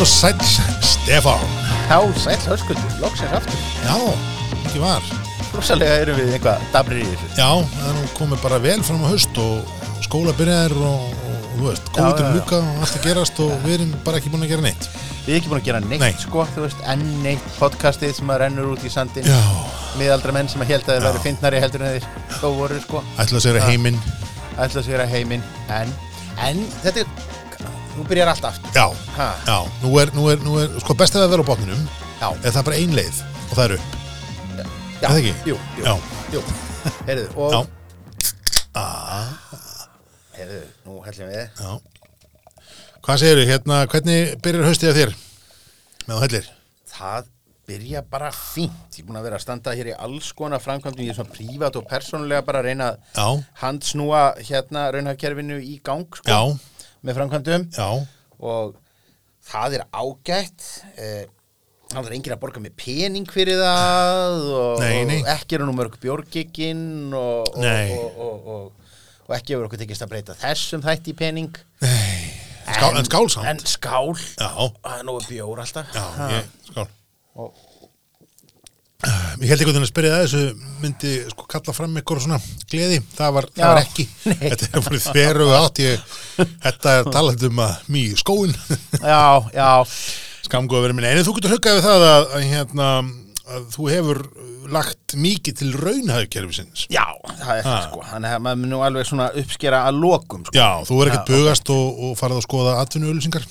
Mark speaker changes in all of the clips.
Speaker 1: og sæl, Stefán.
Speaker 2: Þá sæl höskuldur, loksins aftur.
Speaker 1: Já, ekki var.
Speaker 2: Rosalega erum við eitthvað dabrir í þessu.
Speaker 1: Já, það er nú komið bara vel fram á haust og skóla byrjaðir og, og, og þú veist, COVID
Speaker 2: já,
Speaker 1: er
Speaker 2: já.
Speaker 1: luka og allt að gerast og við erum bara ekki búin að gera neitt.
Speaker 2: Við erum ekki búin að gera neitt,
Speaker 1: Nei.
Speaker 2: sko, þú veist, enn neitt podcastið sem að rennur út í sandin.
Speaker 1: Já,
Speaker 2: Miðaldra menn sem að held að þeir væri fyndnari heldur en þeir þó voru, sko.
Speaker 1: ætla að segja heiminn.
Speaker 2: Ætla að segja heiminn, en, en, þetta er, þú byrjar allt aftur.
Speaker 1: Já,
Speaker 2: Ha.
Speaker 1: já, nú er, nú er, nú er, sko best er að vera á botninum,
Speaker 2: Já,
Speaker 1: eða það er bara ein leið og það er upp. er
Speaker 2: já,
Speaker 1: það ekki?
Speaker 2: jú, jú,
Speaker 1: Já.
Speaker 2: jú. Heyrðu, og,
Speaker 1: Já,
Speaker 2: heyrðu, nú hellum við.
Speaker 1: já. Hvað segirðu, hérna, hvernig byrjar haustið að þér? Með þú hellir?
Speaker 2: Það byrja bara fínt. Ég er búin að vera að standa hér í alls konar framkvæmdum, ég er svona prívat og persónulega bara að reyna að
Speaker 1: Já,
Speaker 2: handsnúa hérna raunhafkerfinu í gang sko,
Speaker 1: já,
Speaker 2: með framkvæmdum
Speaker 1: já,
Speaker 2: og það er ágætt eh, það er enginn að borga með pening fyrir það og,
Speaker 1: Nei, nei.
Speaker 2: og ekki eru nú mörg bjórgikinn og, og,
Speaker 1: Nei.
Speaker 2: og, og, og, og, ekki hefur okkur tekist að breyta þessum þætti í pening
Speaker 1: Skál- en skál samt.
Speaker 2: en skál
Speaker 1: já,
Speaker 2: það er nú bjór alltaf
Speaker 1: já,
Speaker 2: Ha.
Speaker 1: ég, skál.
Speaker 2: og,
Speaker 1: Ég held einhvern veginn að spyrja það þessu myndi sko kalla fram ykkur svona gleði, það var, það
Speaker 2: Já.
Speaker 1: var ekki
Speaker 2: Nei.
Speaker 1: þetta er fyrir þveru átt ég, þetta er talandi um að mýju skóin
Speaker 2: já, já,
Speaker 1: skamgóð að vera minni, en þú getur huggað við það að, að, hérna, að þú hefur lagt mikið til raunhæðkerfisins
Speaker 2: já það er það
Speaker 1: Ha.
Speaker 2: sko þannig að maður mun nú alveg svona uppskera að lokum sko.
Speaker 1: Já, þú er ekkert bugast og, og farið að skoða atvinnuölusingar,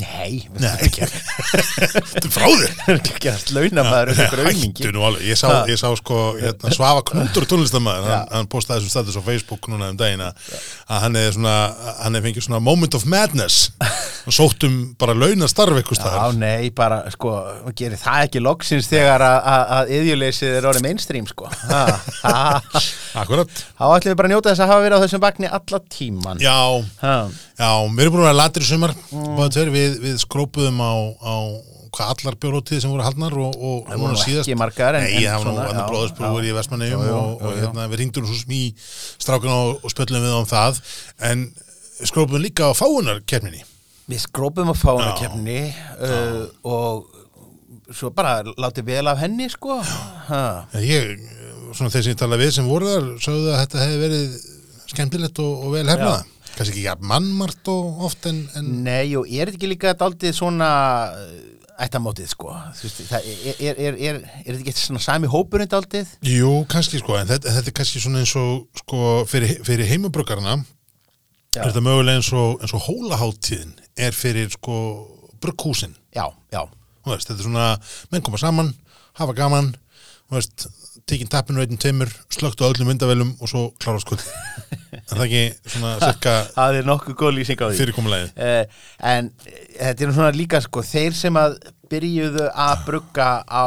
Speaker 2: nei,
Speaker 1: Nei. þetta er frá þér
Speaker 2: Það er ekki að gerast launamaður um einhver auðmingi.
Speaker 1: Hættu nú alveg, ég sá,
Speaker 2: Ha.
Speaker 1: ég sá sko hérna, Svafa Knútur tónlistamæður hann,
Speaker 2: Já.
Speaker 1: hann postaði þessum status á Facebook núna um daginn að að hann hefði svona hann hefði fengið svona moment of madness og sóttum bara launastarf ykkur
Speaker 2: Já,
Speaker 1: staðar
Speaker 2: nei, bara, sko, hún gerir það ekki loksins þegar að- að að yðjuleysið er orðið mainstream, sko. Ha, ha, ha.
Speaker 1: Akkurat,
Speaker 2: Þá ætlum við bara að njóta þess að hafa verið á þessum vagni alla tíman.
Speaker 1: já
Speaker 2: Ha.
Speaker 1: Já, við erum búin að vera latir í sumar mm. tver, við, við skrópuðum á, á hvað allar bjórlótið sem voru haldnar og, og núna
Speaker 2: voru nú ekki margar, en-
Speaker 1: Nei,
Speaker 2: en
Speaker 1: það var nú
Speaker 2: svona,
Speaker 1: annar
Speaker 2: já,
Speaker 1: bróðursbrúður
Speaker 2: já.
Speaker 1: í Vestmannegjum
Speaker 2: Jú, jú,
Speaker 1: og, og
Speaker 2: jú, jú.
Speaker 1: hérna, við ringdum svo smí strákan og, og spjöllum við á um það en skrópuðum líka á fáunar keppninni
Speaker 2: Við skrópum að fá hana kemni uh, og svo bara látið vel af henni, sko. Ha.
Speaker 1: En Ég, svona þeir sem ég talaði við sem voru þar sögðu að þetta hefði verið skemmtilegt og, og vel hernaða kannski ekki jafn mannmart og oft en, en
Speaker 2: Nei, og er þetta ekki líka daldið svona uh, ættamótið, sko? Þú veist, það er, er, er, er, er þetta ekki svona sami hópurinn daldið?
Speaker 1: jú, kannski sko en þetta, þetta er kannski svona eins og sko, fyrir, fyrir heimabruggarna
Speaker 2: Já.
Speaker 1: er þetta mögulega eins og, eins og hólaháttíðin er fyrir sko brugghúsin
Speaker 2: Já, já.
Speaker 1: Þú veist, þetta er svona, menn koma saman hafa gaman, þú veist tekinn tappinu einn teimur, slögt á öllum vindavelum og svo klára skull en það ekki svona cirka
Speaker 2: Það er nokkuð góð lýsing á því.
Speaker 1: fyrirkomulegið
Speaker 2: Eh, en eh, þetta er nú svona líka sko, þeir sem að byrjuðu að brugga á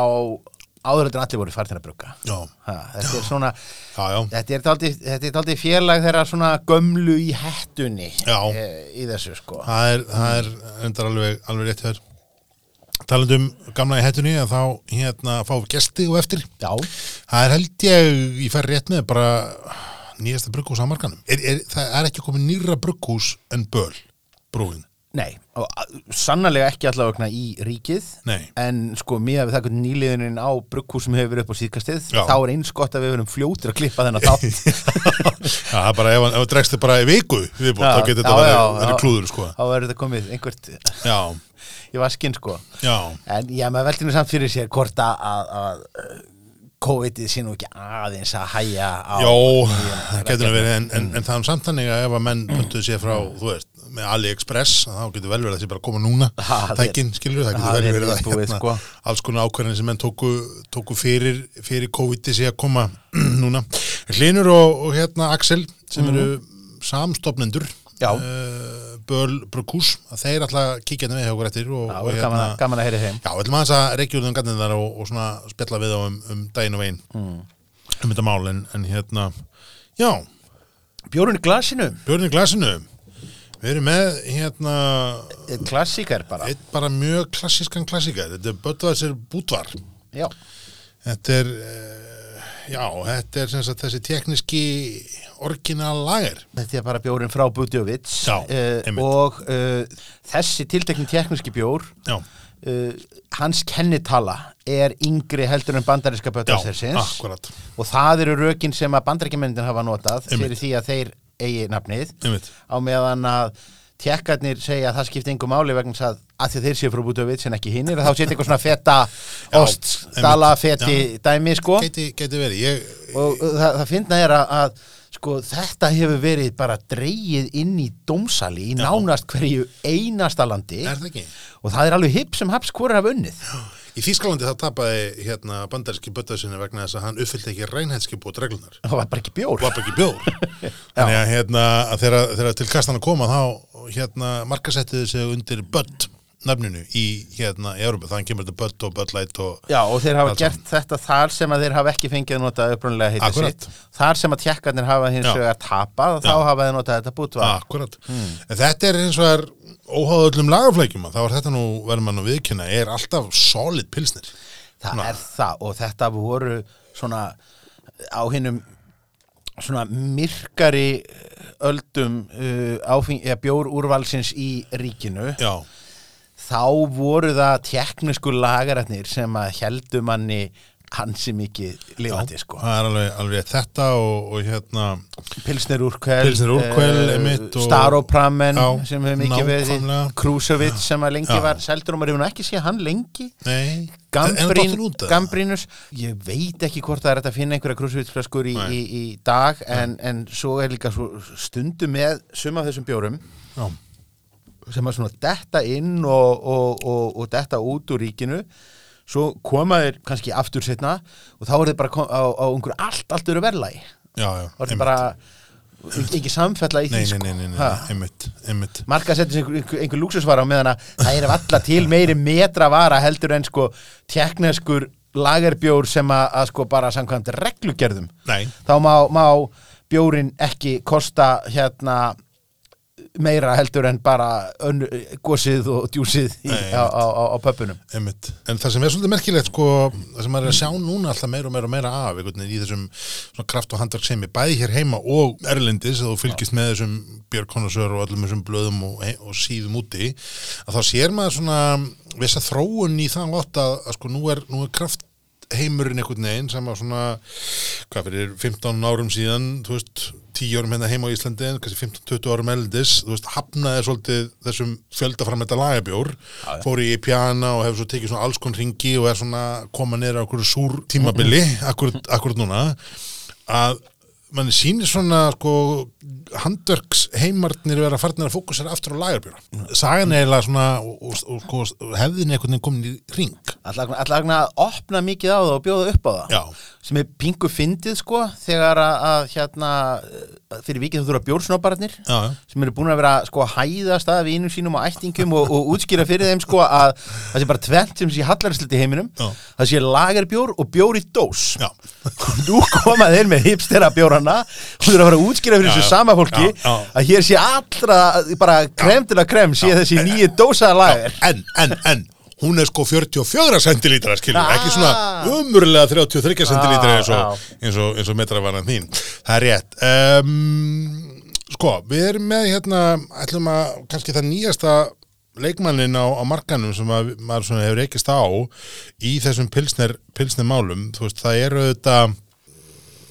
Speaker 2: áðuröldur allir voru fartin að brugga
Speaker 1: Já,
Speaker 2: ha, þetta er svona
Speaker 1: já, já
Speaker 2: þetta er daldið, þetta er daldið félag þeirra svona gömlu í hettunni
Speaker 1: Já.
Speaker 2: eh, í þessu sko
Speaker 1: það er, það er endar alveg, alveg rétt hér talandi um gamla í hættunni að þá hérna fáum við gesti og eftir
Speaker 2: já,
Speaker 1: það er held ég, ég fer rétt með bara nýjasta brugghús á markanum er, er, það er ekki komið nýra brugghús en böl, brúin
Speaker 2: nei og a- sannarlega ekki allavegna í ríkið
Speaker 1: Nei.
Speaker 2: en sko mér við það hvernig nýliðunin á brugghúsum hefur verið upp á síðkastið
Speaker 1: Já.
Speaker 2: þá er eins gott að við verum fljótir að klippa þennan þátt
Speaker 1: Já, það er bara, ef, ef dregst þið bara í viku viðbútt,
Speaker 2: Já,
Speaker 1: þá getur þetta
Speaker 2: já,
Speaker 1: verið-
Speaker 2: já,
Speaker 1: verið
Speaker 2: já.
Speaker 1: klúður sko.
Speaker 2: þá verður þetta komið einhvert
Speaker 1: já,
Speaker 2: í vaskinn sko
Speaker 1: já,
Speaker 2: En já, maður veltir nú samt fyrir sér hvort að, að, að uh, COVID-ið sé nú ekki aðeins að hæja á
Speaker 1: já það getur það verið en, en,
Speaker 2: Mm.
Speaker 1: en það er samt þannig að ef að menn pöntuðu sér frá, þú veist, með AliExpress þá getur vel verið að þessi bara að koma núna
Speaker 2: Ha,
Speaker 1: tækin, skilur, það
Speaker 2: ha,
Speaker 1: getur vel
Speaker 2: þeir
Speaker 1: verið að hérna,
Speaker 2: viðbúið, sko.
Speaker 1: alls konar ákvarðin sem menn tóku, tóku fyrir, fyrir COVID-i sé að koma núna Hlinur og, og hérna Axel sem eru samstofnendur
Speaker 2: Mm. Já.
Speaker 1: eh, Böl Brukús þeir alltaf kíkja hérna við hjá okkur eftir og,
Speaker 2: Já,
Speaker 1: og hérna
Speaker 2: verður gaman, að- gaman að heyri þeim
Speaker 1: Já, við ætlum aðeins að reykja út um gandinn þar og, og svona spjalla við á um, um daginn og veginn um þetta mál en, en hérna já,
Speaker 2: Bjórun í glasinu,
Speaker 1: björn í glasinu við erum með hérna
Speaker 2: eh, klassíkar bara
Speaker 1: eitt bara mjög klassískan klassíkar þetta er Böttvæðsir Bútvar
Speaker 2: Já,
Speaker 1: þetta er eh, já, þetta er sem sagt þessi tekniski orginal lager.
Speaker 2: Þetta er bara bjórin frá Budjovits eh,
Speaker 1: Já, einmitt.
Speaker 2: og uh, þessi tiltekni tekniski bjór
Speaker 1: Já,
Speaker 2: uh, hans kennitala er yngri heldur en bandaríska
Speaker 1: já,
Speaker 2: bötastærsins
Speaker 1: akkurat,
Speaker 2: og það eru rökin sem að bandaríkjamöndin hafa notað
Speaker 1: Einmitt.
Speaker 2: fyrir því að þeir eigi nafnið
Speaker 1: einmitt,
Speaker 2: á meðan að tekkarnir segja að það skipti engu máli vegna þess að að því að þeir séu frá Budjovits en ekki hinnir þá setja eitthvað svona feta
Speaker 1: Já,
Speaker 2: ost, dala, feti dæmi sko
Speaker 1: geti, geti verið, ég,
Speaker 2: og uh, það, það finna er að, að sko, þetta hefur verið bara dreigið inn í dómsali í nánast hverju einasta landi
Speaker 1: er það ekki?
Speaker 2: og það er alveg hipp sem haps hvora hafa unnið
Speaker 1: Í Þýskalandi það tapaði hérna bandaríski böttasinni vegna þess að hann uppfyllt ekki rænhætskip og reglunar.
Speaker 2: það var bara ekki bjór
Speaker 1: og var bara ekki bjór. Þannig að hérna, að þegar, þegar til kastan að koma þá hérna markasettiði sig undir bött nafninu í hérna í Európa. Þannig kemur þetta bött og böttlætt og
Speaker 2: Já, og þeir hafa
Speaker 1: Allt
Speaker 2: gert þetta þar sem að þeir hafa ekki fengið að nota upprunalega heitið
Speaker 1: Akkúrat.
Speaker 2: sitt þar sem að tjekkarnir hafa hins
Speaker 1: Já. Ah,
Speaker 2: vegar tapað og þá hafa þeir notað þetta bútva
Speaker 1: Akkurat.
Speaker 2: Hmm.
Speaker 1: En þetta er eins og er óháð öllum lagaflækjum að þá er þetta nú verður mann að viðkynna, er alltaf solid pilsnir.
Speaker 2: Það
Speaker 1: Svona.
Speaker 2: er það og þetta voru svona á hinnum svona myrkari eh, öldum uh, áfeng, eða, bjórúrvalsins í ríkinu
Speaker 1: Já,
Speaker 2: þá voru það teknisku lagarætnir sem að heldu manni hansi mikið lifandi sko.
Speaker 1: það er alveg, alveg þetta og, og hérna,
Speaker 2: Pilsner úrkvel, eh,
Speaker 1: Pilsner Urquell, einmitt, og-
Speaker 2: Staropramen
Speaker 1: Já,
Speaker 2: sem hefur mikið verið
Speaker 1: nákvæmlega.
Speaker 2: Krúsovits sem að lengi
Speaker 1: Já.
Speaker 2: var seldur og maður hefur nú ekki séð hann lengi
Speaker 1: nei,
Speaker 2: Gambrín,
Speaker 1: Gambrín.
Speaker 2: Gambrínus ég veit ekki hvort það er hægt að finna einhverja krúsuvitsflaskur í,
Speaker 1: Nei.
Speaker 2: í, í dag en, en svo er líka svo stundum með sum af þessum bjórum
Speaker 1: Já,
Speaker 2: sem að svona detta inn og, og, og, og detta út úr ríkinu svo koma þeir kannski aftur setna og þá er þeir bara kom, á, á einhverju allt, allt eru verðlægi
Speaker 1: já, já.
Speaker 2: og þetta
Speaker 1: einmitt.
Speaker 2: bara ekki samfella í því
Speaker 1: Nei,
Speaker 2: sko.
Speaker 1: nei, nei, nei, nei,
Speaker 2: Ha.
Speaker 1: einmitt, einmitt.
Speaker 2: marka setjum einhver, einhver, einhver lúksusvara á meðan að það er valla til meiri metra vara heldur en sko tekneskur lagerbjór sem að, að sko bara samkvæmt reglugerðum
Speaker 1: Nei,
Speaker 2: þá má, má bjórin ekki kosta hérna meira heldur en bara önnu, gósið og djúsið í,
Speaker 1: Nei,
Speaker 2: á, á, á, á pöppunum
Speaker 1: einmitt. En það sem er svolítið merkilegt, sko, það sem maður er að sjá núna alltaf meira og meira og meira af, einhvern veginn í þessum svona kraft og handverksemi, bæði hér heima og erlendis, að þú fylgist með þessum björkonnasör og öllum þessum blöðum og, og síðum úti, að þá sér maður svona vissa þróun í þann lott að, að sko, nú er, nú er kraft heimurinn einhvern veginn sem að svona hvað fyrir 15 árum síðan þú veist, 10 árum hérna heima á Íslandi en kannski 15-20 árum eldis þú veist, hafnaði svolítið þessum fjöldaframetta lagabjór, fór í piana og hefur svo tekið svona alls kon ringi og er svona koma neyra á okkur súr tímabili akkur, akkur núna að mann sýnir svona sko, handverks heimarnir vera farnir að fókusera aftur á lagarbjóra sagan er eiginlega svona og, og, og, og hefðin einhvern veginn komin í ring
Speaker 2: Allagna að opna mikið á það og bjóða upp á það
Speaker 1: Já.
Speaker 2: sem er pingu fyndið sko þegar að, að hérna eh, fyrir vikið þú þurfa bjórsnobarnir
Speaker 1: Já, já.
Speaker 2: sem eru búin að vera sko að hæðast að vinum sínum og ættingum og, og útskýra fyrir þeim sko að það sé bara tvent sem sé hallarslut í heiminum
Speaker 1: Já.
Speaker 2: það sé lagerbjór og bjór í dós
Speaker 1: já
Speaker 2: og nú koma þeir með hipstera bjórana og þeir eru að fara að útskýra fyrir
Speaker 1: Já,
Speaker 2: þessu
Speaker 1: já.
Speaker 2: sama fólki
Speaker 1: Já, já.
Speaker 2: að hér sé allra bara krem til að krem sé þessi nýju dósaða lager
Speaker 1: en, en, en hún er sko 44 sentilítra skilur,
Speaker 2: Ah.
Speaker 1: ekki svona umurlega 33 sentilítra eins
Speaker 2: Ah,
Speaker 1: og, eins og, eins og metravaran þín það er rétt um, sko, við erum með hérna ætlum að, kannski það nýjasta leikmannin á, á markanum sem að, maður svona hefur ekkist á í þessum pilsner, pilsner málum þú veist, það eru þetta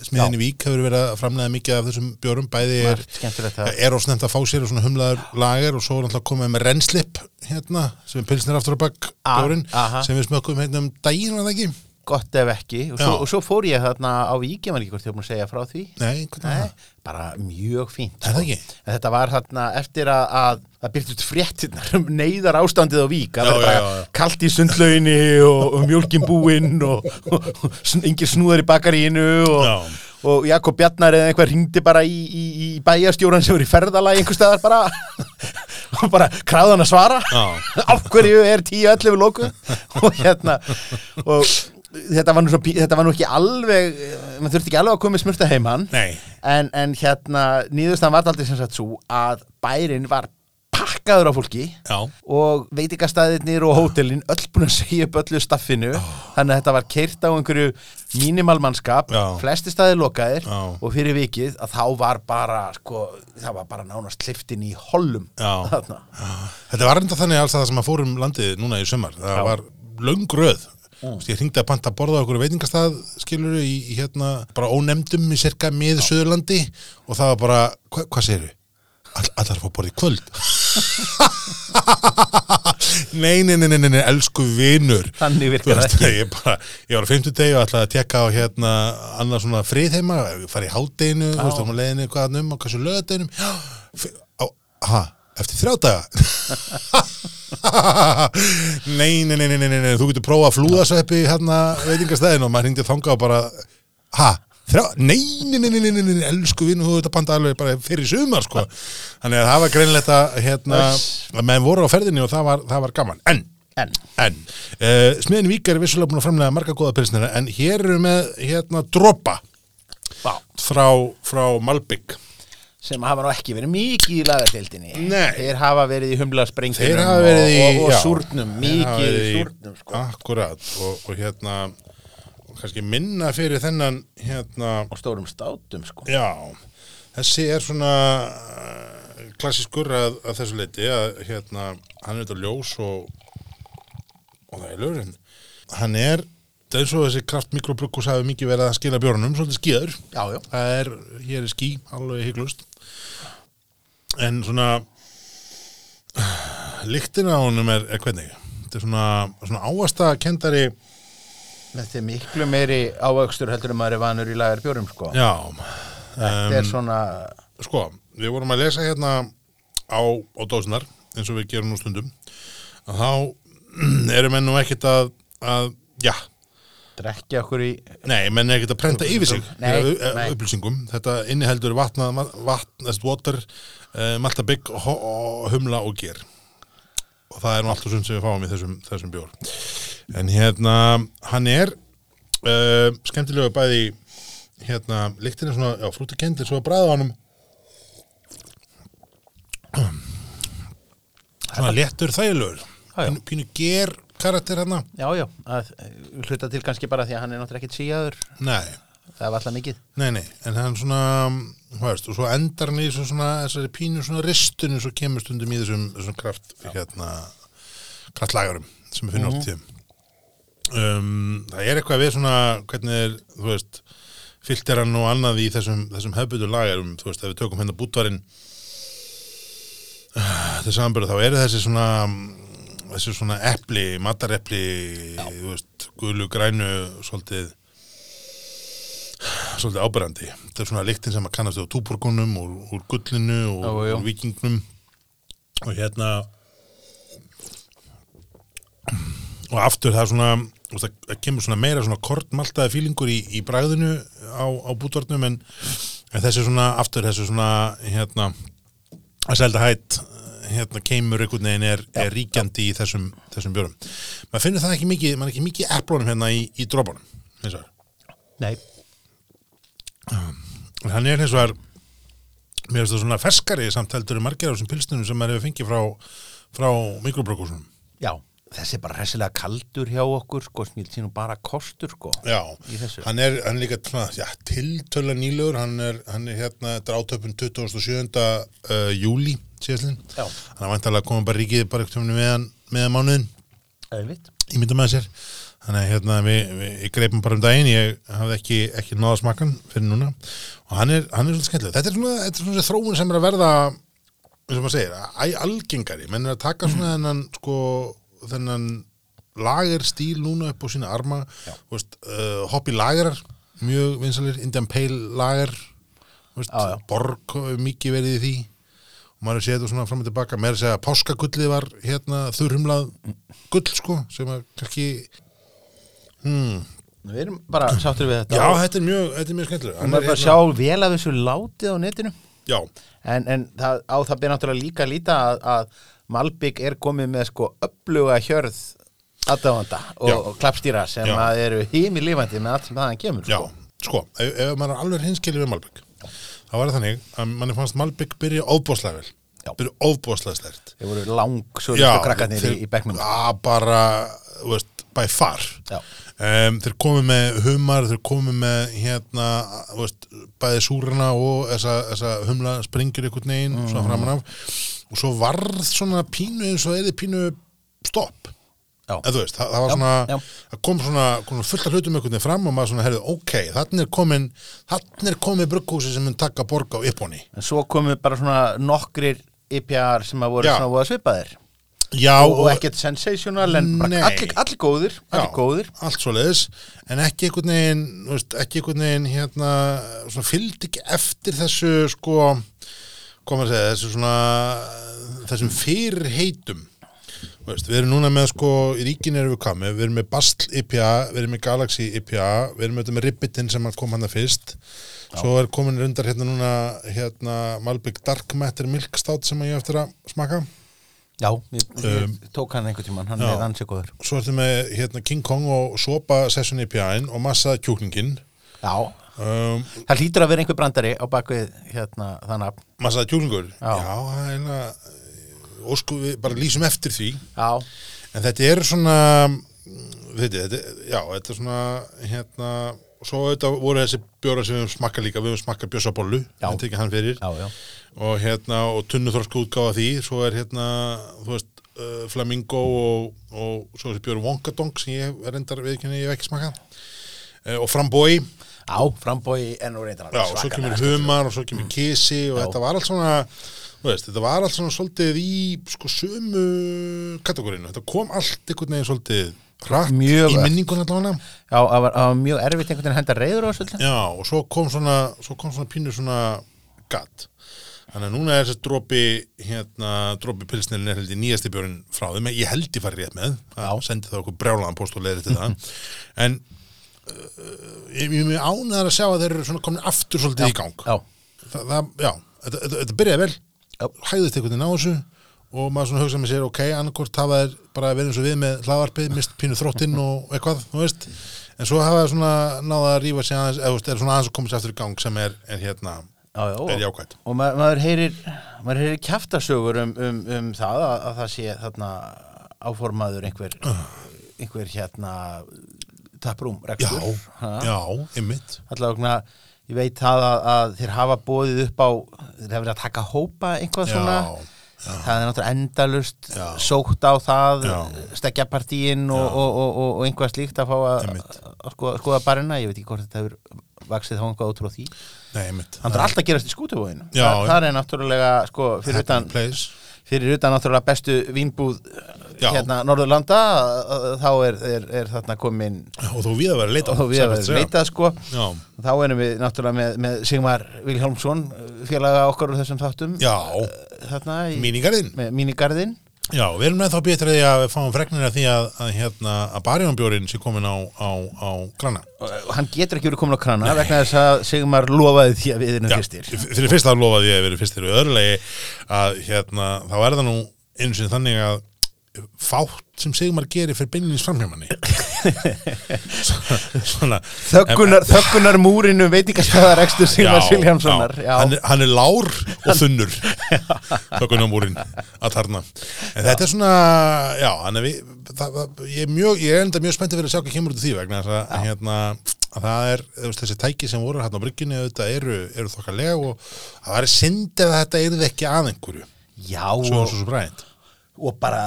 Speaker 1: smiðinni Vík hefur verið að framlega mikið af þessum bjórum, bæði er
Speaker 2: Margt skemmtilegt það.
Speaker 1: er of snemt að fá sér og svona humlaður lager og svo er alltaf komið með rennslipp hérna, sem er pilsnir aftur á bakk
Speaker 2: Ah,
Speaker 1: bjórin,
Speaker 2: aha.
Speaker 1: sem við smökkum hérna um daginn var það ekki?
Speaker 2: gott ef ekki og svo,
Speaker 1: Já.
Speaker 2: og svo fór ég þarna á Vík ég var ekki hvort ég var búin að segja frá því
Speaker 1: Nei, hvernig var það?
Speaker 2: bara mjög fínt
Speaker 1: Er það ekki?
Speaker 2: En þetta var þarna eftir að, að það byrtist fréttinnar um neyðar ástandið á vík
Speaker 1: Já,
Speaker 2: það var
Speaker 1: já,
Speaker 2: bara
Speaker 1: já, já.
Speaker 2: kalt í sundlauginni og, og mjólkin búinn og, og, og sn- engir snúðar í bakaríinu og,
Speaker 1: Já.
Speaker 2: og Jakob Bjarnar eða einhver ringdi bara í, í, í bæjarstjóran sem var í ferðalagi einhver staðar bara og bara kráðan að svara
Speaker 1: Já.
Speaker 2: af hverju er 10-11 lóku og hérna og þetta var nú, svo, pí- þetta var nú ekki alveg eh, maður þurfti ekki alveg að koma með smurta heimann
Speaker 1: Nei
Speaker 2: en, en hérna nýðustan var aldrei sem sagt svo að bærin var pakk pakkaður á fólki
Speaker 1: Já,
Speaker 2: og veitingastæðirnir og hótelin öll búin að segja upp öllu staffinu þannig að þetta var keirt á einhverju mínimalmannskap,
Speaker 1: Já.
Speaker 2: flesti staðir lokaðir
Speaker 1: Já.
Speaker 2: og fyrir vikið að þá var bara sko, það var bara nánast kliftin í hollum
Speaker 1: Já.
Speaker 2: Þarna.
Speaker 1: þetta var enda þannig alls að það sem að fórum landið núna í sumar, það
Speaker 2: Já.
Speaker 1: var löng röð Mm. Ég hringdi að panta að borða okkur veitingastað skilur í, í hérna bara ónefndum í cirka mið Suðurlandi og það var bara, hva, hvað segirðu? All, allar að fá að borða í kvöld nei, nei, nei, nei, nei, nei, elsku vinur
Speaker 2: Þannig virkar
Speaker 1: Þú veist,
Speaker 2: það
Speaker 1: ég, bara, ég var á fimmtudegi og ætlaði að tekka á hérna annað svona frið heima, fara í hátdeinu þú veist, þá maður leiðinu hvaðan um og hversu löðdeinum á, ha, eftir þrjá daga nei, nei, nei, nei, nei, nei, nei, þú getur prófað flúðasveppi hérna veitingastæðin og maður hringdi þangað og bara ha, þrjá, nei, nei, nei, nei, nei, nei, nei elsku vinn, þú ert að panta alveg bara fyrir sumar sko, þannig að það var greinlegt að hérna, að menn voru á ferðinni og það var, það var gaman, en
Speaker 2: en
Speaker 1: En, uh, smiðin Víkar er vissulega búin að framlega marga góða pilsnir en hér eru með, hérna, dropa
Speaker 2: Vá.
Speaker 1: frá, frá Malbygg.
Speaker 2: sem hafa nú ekki verið mikið í lagadeildinni
Speaker 1: Nei.
Speaker 2: þeir hafa verið í humla sprengjum
Speaker 1: Þeir hafa verið í...
Speaker 2: og, og
Speaker 1: já,
Speaker 2: súrnum,
Speaker 1: þeir hafa
Speaker 2: mikið í
Speaker 1: verið
Speaker 2: súrnum sko.
Speaker 1: Akkurat, og, og hérna, og kannski minna fyrir þennan, hérna,
Speaker 2: og stórum státum sko.
Speaker 1: já, þessi er svona eh, klassískur að, að þessu leiti, að hérna, hann er þetta ljós og, og það er lögurinn. Hann er, það er eins og þessi kraftmikrobrukkus hafi mikið verið að skila bjórnum, svolítið skýður.
Speaker 2: já, já,
Speaker 1: það er, hér er ský, alveg hygglust en svona lyktin á honum er, er hvernig þetta er svona, svona ávastakendari
Speaker 2: þetta er miklu meiri ávöxtur heldur en maður er vanur í lagarbjórum sko.
Speaker 1: já
Speaker 2: þetta er
Speaker 1: um,
Speaker 2: svona
Speaker 1: sko, við vorum að lesa hérna á, á dósinar eins og við gerum nú stundum að þá erum enn nú ekkert að, að já,
Speaker 2: drekja okkur í
Speaker 1: Nei, menn er ekkert að prenta yfir sig
Speaker 2: Nei,
Speaker 1: fyrir au-
Speaker 2: nei.
Speaker 1: upplýsingum, þetta inniheldur vatna, vatn, eða water uh, maltabygg, humla og ger og það er nú allt og sund sem við fáum í þessum, þessum bjór en hérna, hann er uh, skemmtilega bæði í, hérna, lyktin er svona, já, flúti kendir svo að bræða honum svona léttur þægilegur
Speaker 2: Já, já.
Speaker 1: pínu, pínu ger karakter hérna
Speaker 2: já, já, að eh, hluta til kannski bara því að hann er náttúrulega ekkit síjaður
Speaker 1: nei
Speaker 2: það var alltaf mikið
Speaker 1: Nei, nei, en hann svona, hvað veist, og svo endar hann í svo svona, þessari pínu svona ristunni svo kemur stundum í þessum, þessum kraft, hérna, kraftlægarum sem við
Speaker 2: Mhm.
Speaker 1: finnum oft í þeim. Um, það er eitthvað við svona, hvernig er, þú veist, filteran og annað í þessum, þessum hefbutu lagarum, þú veist, ef við tökum hérna bútvarinn, uh, þessi anbyrðu, þá eru þessi svona, mm, þessi svona epli, matarepli, þú veist, gulu, grænu, svolítið, svolítið ábyrrandi. Þetta er svona lyktin sem að kannast á túborgunum, úr, úr gullinu og
Speaker 2: Já, já.
Speaker 1: úr vikingnum og hérna og aftur það er svona þú veist, það kemur svona meira svona kortmaltaði fílingur í, í bragðinu á, á bútvarnum en, en þessi svona aftur þessi svona hérna að selda hætt hérna keimur einhvern veginn er, er ríkjandi í þessum, þessum björum. Maður finnur það ekki mikið, maður er ekki mikið eplónum hérna í, í dropunum, hins vegar.
Speaker 2: nei,
Speaker 1: En hann er hins vegar mér finnst það svona ferskari samt heldur en margir af þessum pilsnunum sem maður hefur fengið frá, frá mikrobrökkusunum
Speaker 2: já, þessi er bara hressilega kaldur hjá okkur sko, snilt sín og bara kostur sko.
Speaker 1: Já,
Speaker 2: Í þessu.
Speaker 1: hann er, hann er líka svona, já, tiltöla nýlegur, hann er, hann er hérna drátöpun 27. Uh, júli síðastlinn,
Speaker 2: Já.
Speaker 1: hann er vantarlega komið bara ríkið bara eitthvað meðan, meðan mánuðin
Speaker 2: auðvitt
Speaker 1: í myndum með sér þannig að hérna, við, við ég greipum bara um daginn ég hafði ekki, ekki náða smakkan fyrir núna og hann er, hann er svolítið skemmtilega þetta er svona, þetta er svona þessi þróun sem er að verða eins og maður segir, æ, algengari menn er að taka
Speaker 2: Mm.
Speaker 1: svona þennan sko, þennan lager stíl núna upp á sína arma þú veist, uh, hoppi lagerar mjög vinsalir, Indian Pale lager þú veist,
Speaker 2: Já, já.
Speaker 1: borg hefur mikið verið í því og maður séð þetta svona fram og tilbaka meira að segja að páskagullið var hérna þurrumlað
Speaker 2: Mm.
Speaker 1: gull sko sem að kannski,
Speaker 2: við erum bara sáttur við
Speaker 1: já,
Speaker 2: þetta
Speaker 1: þetta er mjög þetta er hérna- mjög skemmtilega
Speaker 2: og maður bara sjá vel af þessu látið á netinu
Speaker 1: já,
Speaker 2: En, en það, á það byrja náttúrulega líka að líta að, að Malbygg er komið með sko uppluga hjörð aðdáðanda
Speaker 1: Já.
Speaker 2: og, og klappstýra sem
Speaker 1: Já.
Speaker 2: að eru hými lifandi með allt sem þaðan kemur
Speaker 1: já,
Speaker 2: sko.
Speaker 1: sko ef, ef maður er alveg hinskilið við Malbygg þá var það þannig að manni fannst Malbygg byrja óbúslega vel
Speaker 2: Já.
Speaker 1: Byrju ofbúðslega stert.
Speaker 2: Þeir voru lang sögulegustu krakkarnir í, í bekknum
Speaker 1: Já, bara, þú veist, by far.
Speaker 2: Já.
Speaker 1: Um, þeir komu með humar, þeir komu með hérna, þú veist, bæði súrana og þessa, þessa humla springir einhvern veginn,
Speaker 2: Mhm.
Speaker 1: svona framan af. Og svo varð svona pínu eins og eða pínu stopp.
Speaker 2: Já.
Speaker 1: Eða, þú veist, það, það var
Speaker 2: Já,
Speaker 1: svona,
Speaker 2: já.
Speaker 1: það kom svona, kom svona fullt af hlutum einhvern veginn fram og maður svona, herrðu, ok, þannig er komin, þannig er komin brugghúsi sem mun taka borga á yppóni.
Speaker 2: En svo komu bara svona nokkrir IPR sem að voru
Speaker 1: Já.
Speaker 2: svona voða svipaðir
Speaker 1: Já,
Speaker 2: og, og ekkert sensational en bara
Speaker 1: Nei.
Speaker 2: allir, allir góðir, allir
Speaker 1: Já,
Speaker 2: góðir
Speaker 1: allt svo leiðis, en ekki einhvern veginn, þú veist, ekki einhvern veginn hérna, svona fylgd ekki eftir þessu sko, hvað maður að segja, þessu svona þessum fyrirheitum Þú veist, við erum núna með sko, í ríkin erum við kamið, við erum með Bastl IPA, við erum með Galaxy IPA, við erum auðvitað með Ribbitin sem að kom hann að fyrst, svo er komin rundar hérna núna, hérna Malbygg Dark Matter Milk Stout sem að ég á eftir að smaka.
Speaker 2: Já, ég, ég tók hann einhvern tímann, hann
Speaker 1: Um, Já.
Speaker 2: er ansið góður
Speaker 1: Svo ertu með hérna, King Kong og Sopa Session IPA-in og massa kjúklingin.
Speaker 2: Já,
Speaker 1: Um,
Speaker 2: það hlýtur að vera einhver brandari á bakvið hérna þannig
Speaker 1: massa kjúlingur?
Speaker 2: Já.
Speaker 1: Já, það er einlega, ósku, við bara lýsum eftir því.
Speaker 2: Já,
Speaker 1: En þetta er svona, veit ég, þetta, já, þetta er svona, hérna, svo auðvitað voru þessi bjóra sem við höfum smakkað líka, við höfum smakkað bjössabollu,
Speaker 2: Já.
Speaker 1: þetta ekki hann fyrir.
Speaker 2: já, já
Speaker 1: Og hérna, og tunnuþrosku útgáfa því, svo er hérna, þú veist, uh, Flamingo og, og svo þessi bjóra Wonkadong sem ég er endar viðkynni, ég hef ekki smakkað. Uh, og Frambói,
Speaker 2: Já, frambói enn og reyndar
Speaker 1: Já, og svo kemur humar og svo kemur kisi og
Speaker 2: sko. Mm. Já.
Speaker 1: þetta var allt svona þú veist, þetta var allt svona svolítið í sko sömu kategórinu þetta kom allt einhvern veginn svolítið hratt
Speaker 2: Mjög
Speaker 1: í
Speaker 2: hratt.
Speaker 1: minningun allavega
Speaker 2: Já, það var, það var mjög erfitt einhvern veginn að henda reyður á þessu öllu.
Speaker 1: Já, og svo kom svona svo kom svona pínu svona gatt þannig að núna er þessi dropi hérna, dropi pilsnirinn er held í nýjasti björn frá þeim, ég held ég farið rétt með það sendi það okkur brjálaðan post og leiðir til það en uh, ég, ég mér ánæður að sjá að þeir eru svona komin aftur svolítið í gang
Speaker 2: Já,
Speaker 1: það, það, já, þetta, þetta, þetta byrjaði vel
Speaker 2: Já.
Speaker 1: hæðist einhvern veginn á þessu og maður svona hugsaði með sér, ok, annarkvort hafa þær bara verið eins og við með hlaðvarpið, mist pínu þróttinn og eitthvað, þú veist en svo hafa þær svona náða að rífa sig aðeins, eða þú veist, er svona aðeins að koma sér aftur í gang sem er, er hérna,
Speaker 2: já, já
Speaker 1: er
Speaker 2: og-
Speaker 1: jákvæmt
Speaker 2: Og maður, maður heyrir, maður heyrir kjaftasögur um, um, um það að, að það sé þarna áformaður einhver,
Speaker 1: Ah.
Speaker 2: einhver hérna taprúm
Speaker 1: Já,
Speaker 2: rekstur.
Speaker 1: já, ymmit
Speaker 2: Allavega, vegna, ég veit það að, að þeir hafa bóðið upp á, þeir hafa verið að taka hópa eitthvað
Speaker 1: Já,
Speaker 2: svona. Það er náttúrulega endalust sótt á það,
Speaker 1: Já.
Speaker 2: stekja partíin og, og, og, og, og einhvað slíkt að fá að,
Speaker 1: Einmitt.
Speaker 2: að skoða, skoða barina. Ég veit ekki hvort þetta hefur vaksið þá einhvað ótrú á því.
Speaker 1: Nei, ymmit
Speaker 2: Þannig er alltaf að gerast í skútuvóðinu.
Speaker 1: Já,
Speaker 2: það,
Speaker 1: já.
Speaker 2: það er náttúrulega, sko, fyrir utan,
Speaker 1: place
Speaker 2: fyrir utan náttúrulega bestu vínbúð
Speaker 1: Já.
Speaker 2: hérna Norðurlanda, að- að- þá er, er, er þarna komin
Speaker 1: og þú við að vera að leita
Speaker 2: og við
Speaker 1: satt
Speaker 2: erum
Speaker 1: að segja.
Speaker 2: leitað, sko.
Speaker 1: Já,
Speaker 2: Þá erum við náttúrulega með, með Sigmar Vilhjálmsson, eh, félaga okkar úr þessum þáttum, eh,
Speaker 1: já,
Speaker 2: þarna í
Speaker 1: míningarinn
Speaker 2: með mínigarðinn.
Speaker 1: Já, við erum með þá betur því að við fáum fregnir af því að, að, hérna, að barjónbjórin sé komin á, á, á granna.
Speaker 2: og hann getur ekki verið komin á krana vegna þess að Sigmar lofaði því að við erum
Speaker 1: Já,
Speaker 2: fyrstir
Speaker 1: f- fyrir fyrst að lofaði ég að vera fyrstir og í öðru lagi að hérna, þá er það nú einu sinni þannig að fátt sem Sigmar gerir fyrir beinlinins framhjámanni svona
Speaker 2: þöggunar, þöggunar múrinu veitingastæðar ekstur Sigmar Siljámssonar já,
Speaker 1: hann, er- hann er lár og þunnur þöggunamúrin að tarna en þetta er svona já, hann er, við, það, það, ég, er mjög, ég er enda mjög spenntið fyrir að sjá hvað kemur út af því vegna þess að, hérna, að það er þú veist, þessi tæki sem voru hérna á bryggjunni auðvitað eru, eru þokkalega og það er synd ef þetta yrði ekki að einhverju
Speaker 2: já
Speaker 1: svo
Speaker 2: og,
Speaker 1: svo svo brænt
Speaker 2: og bara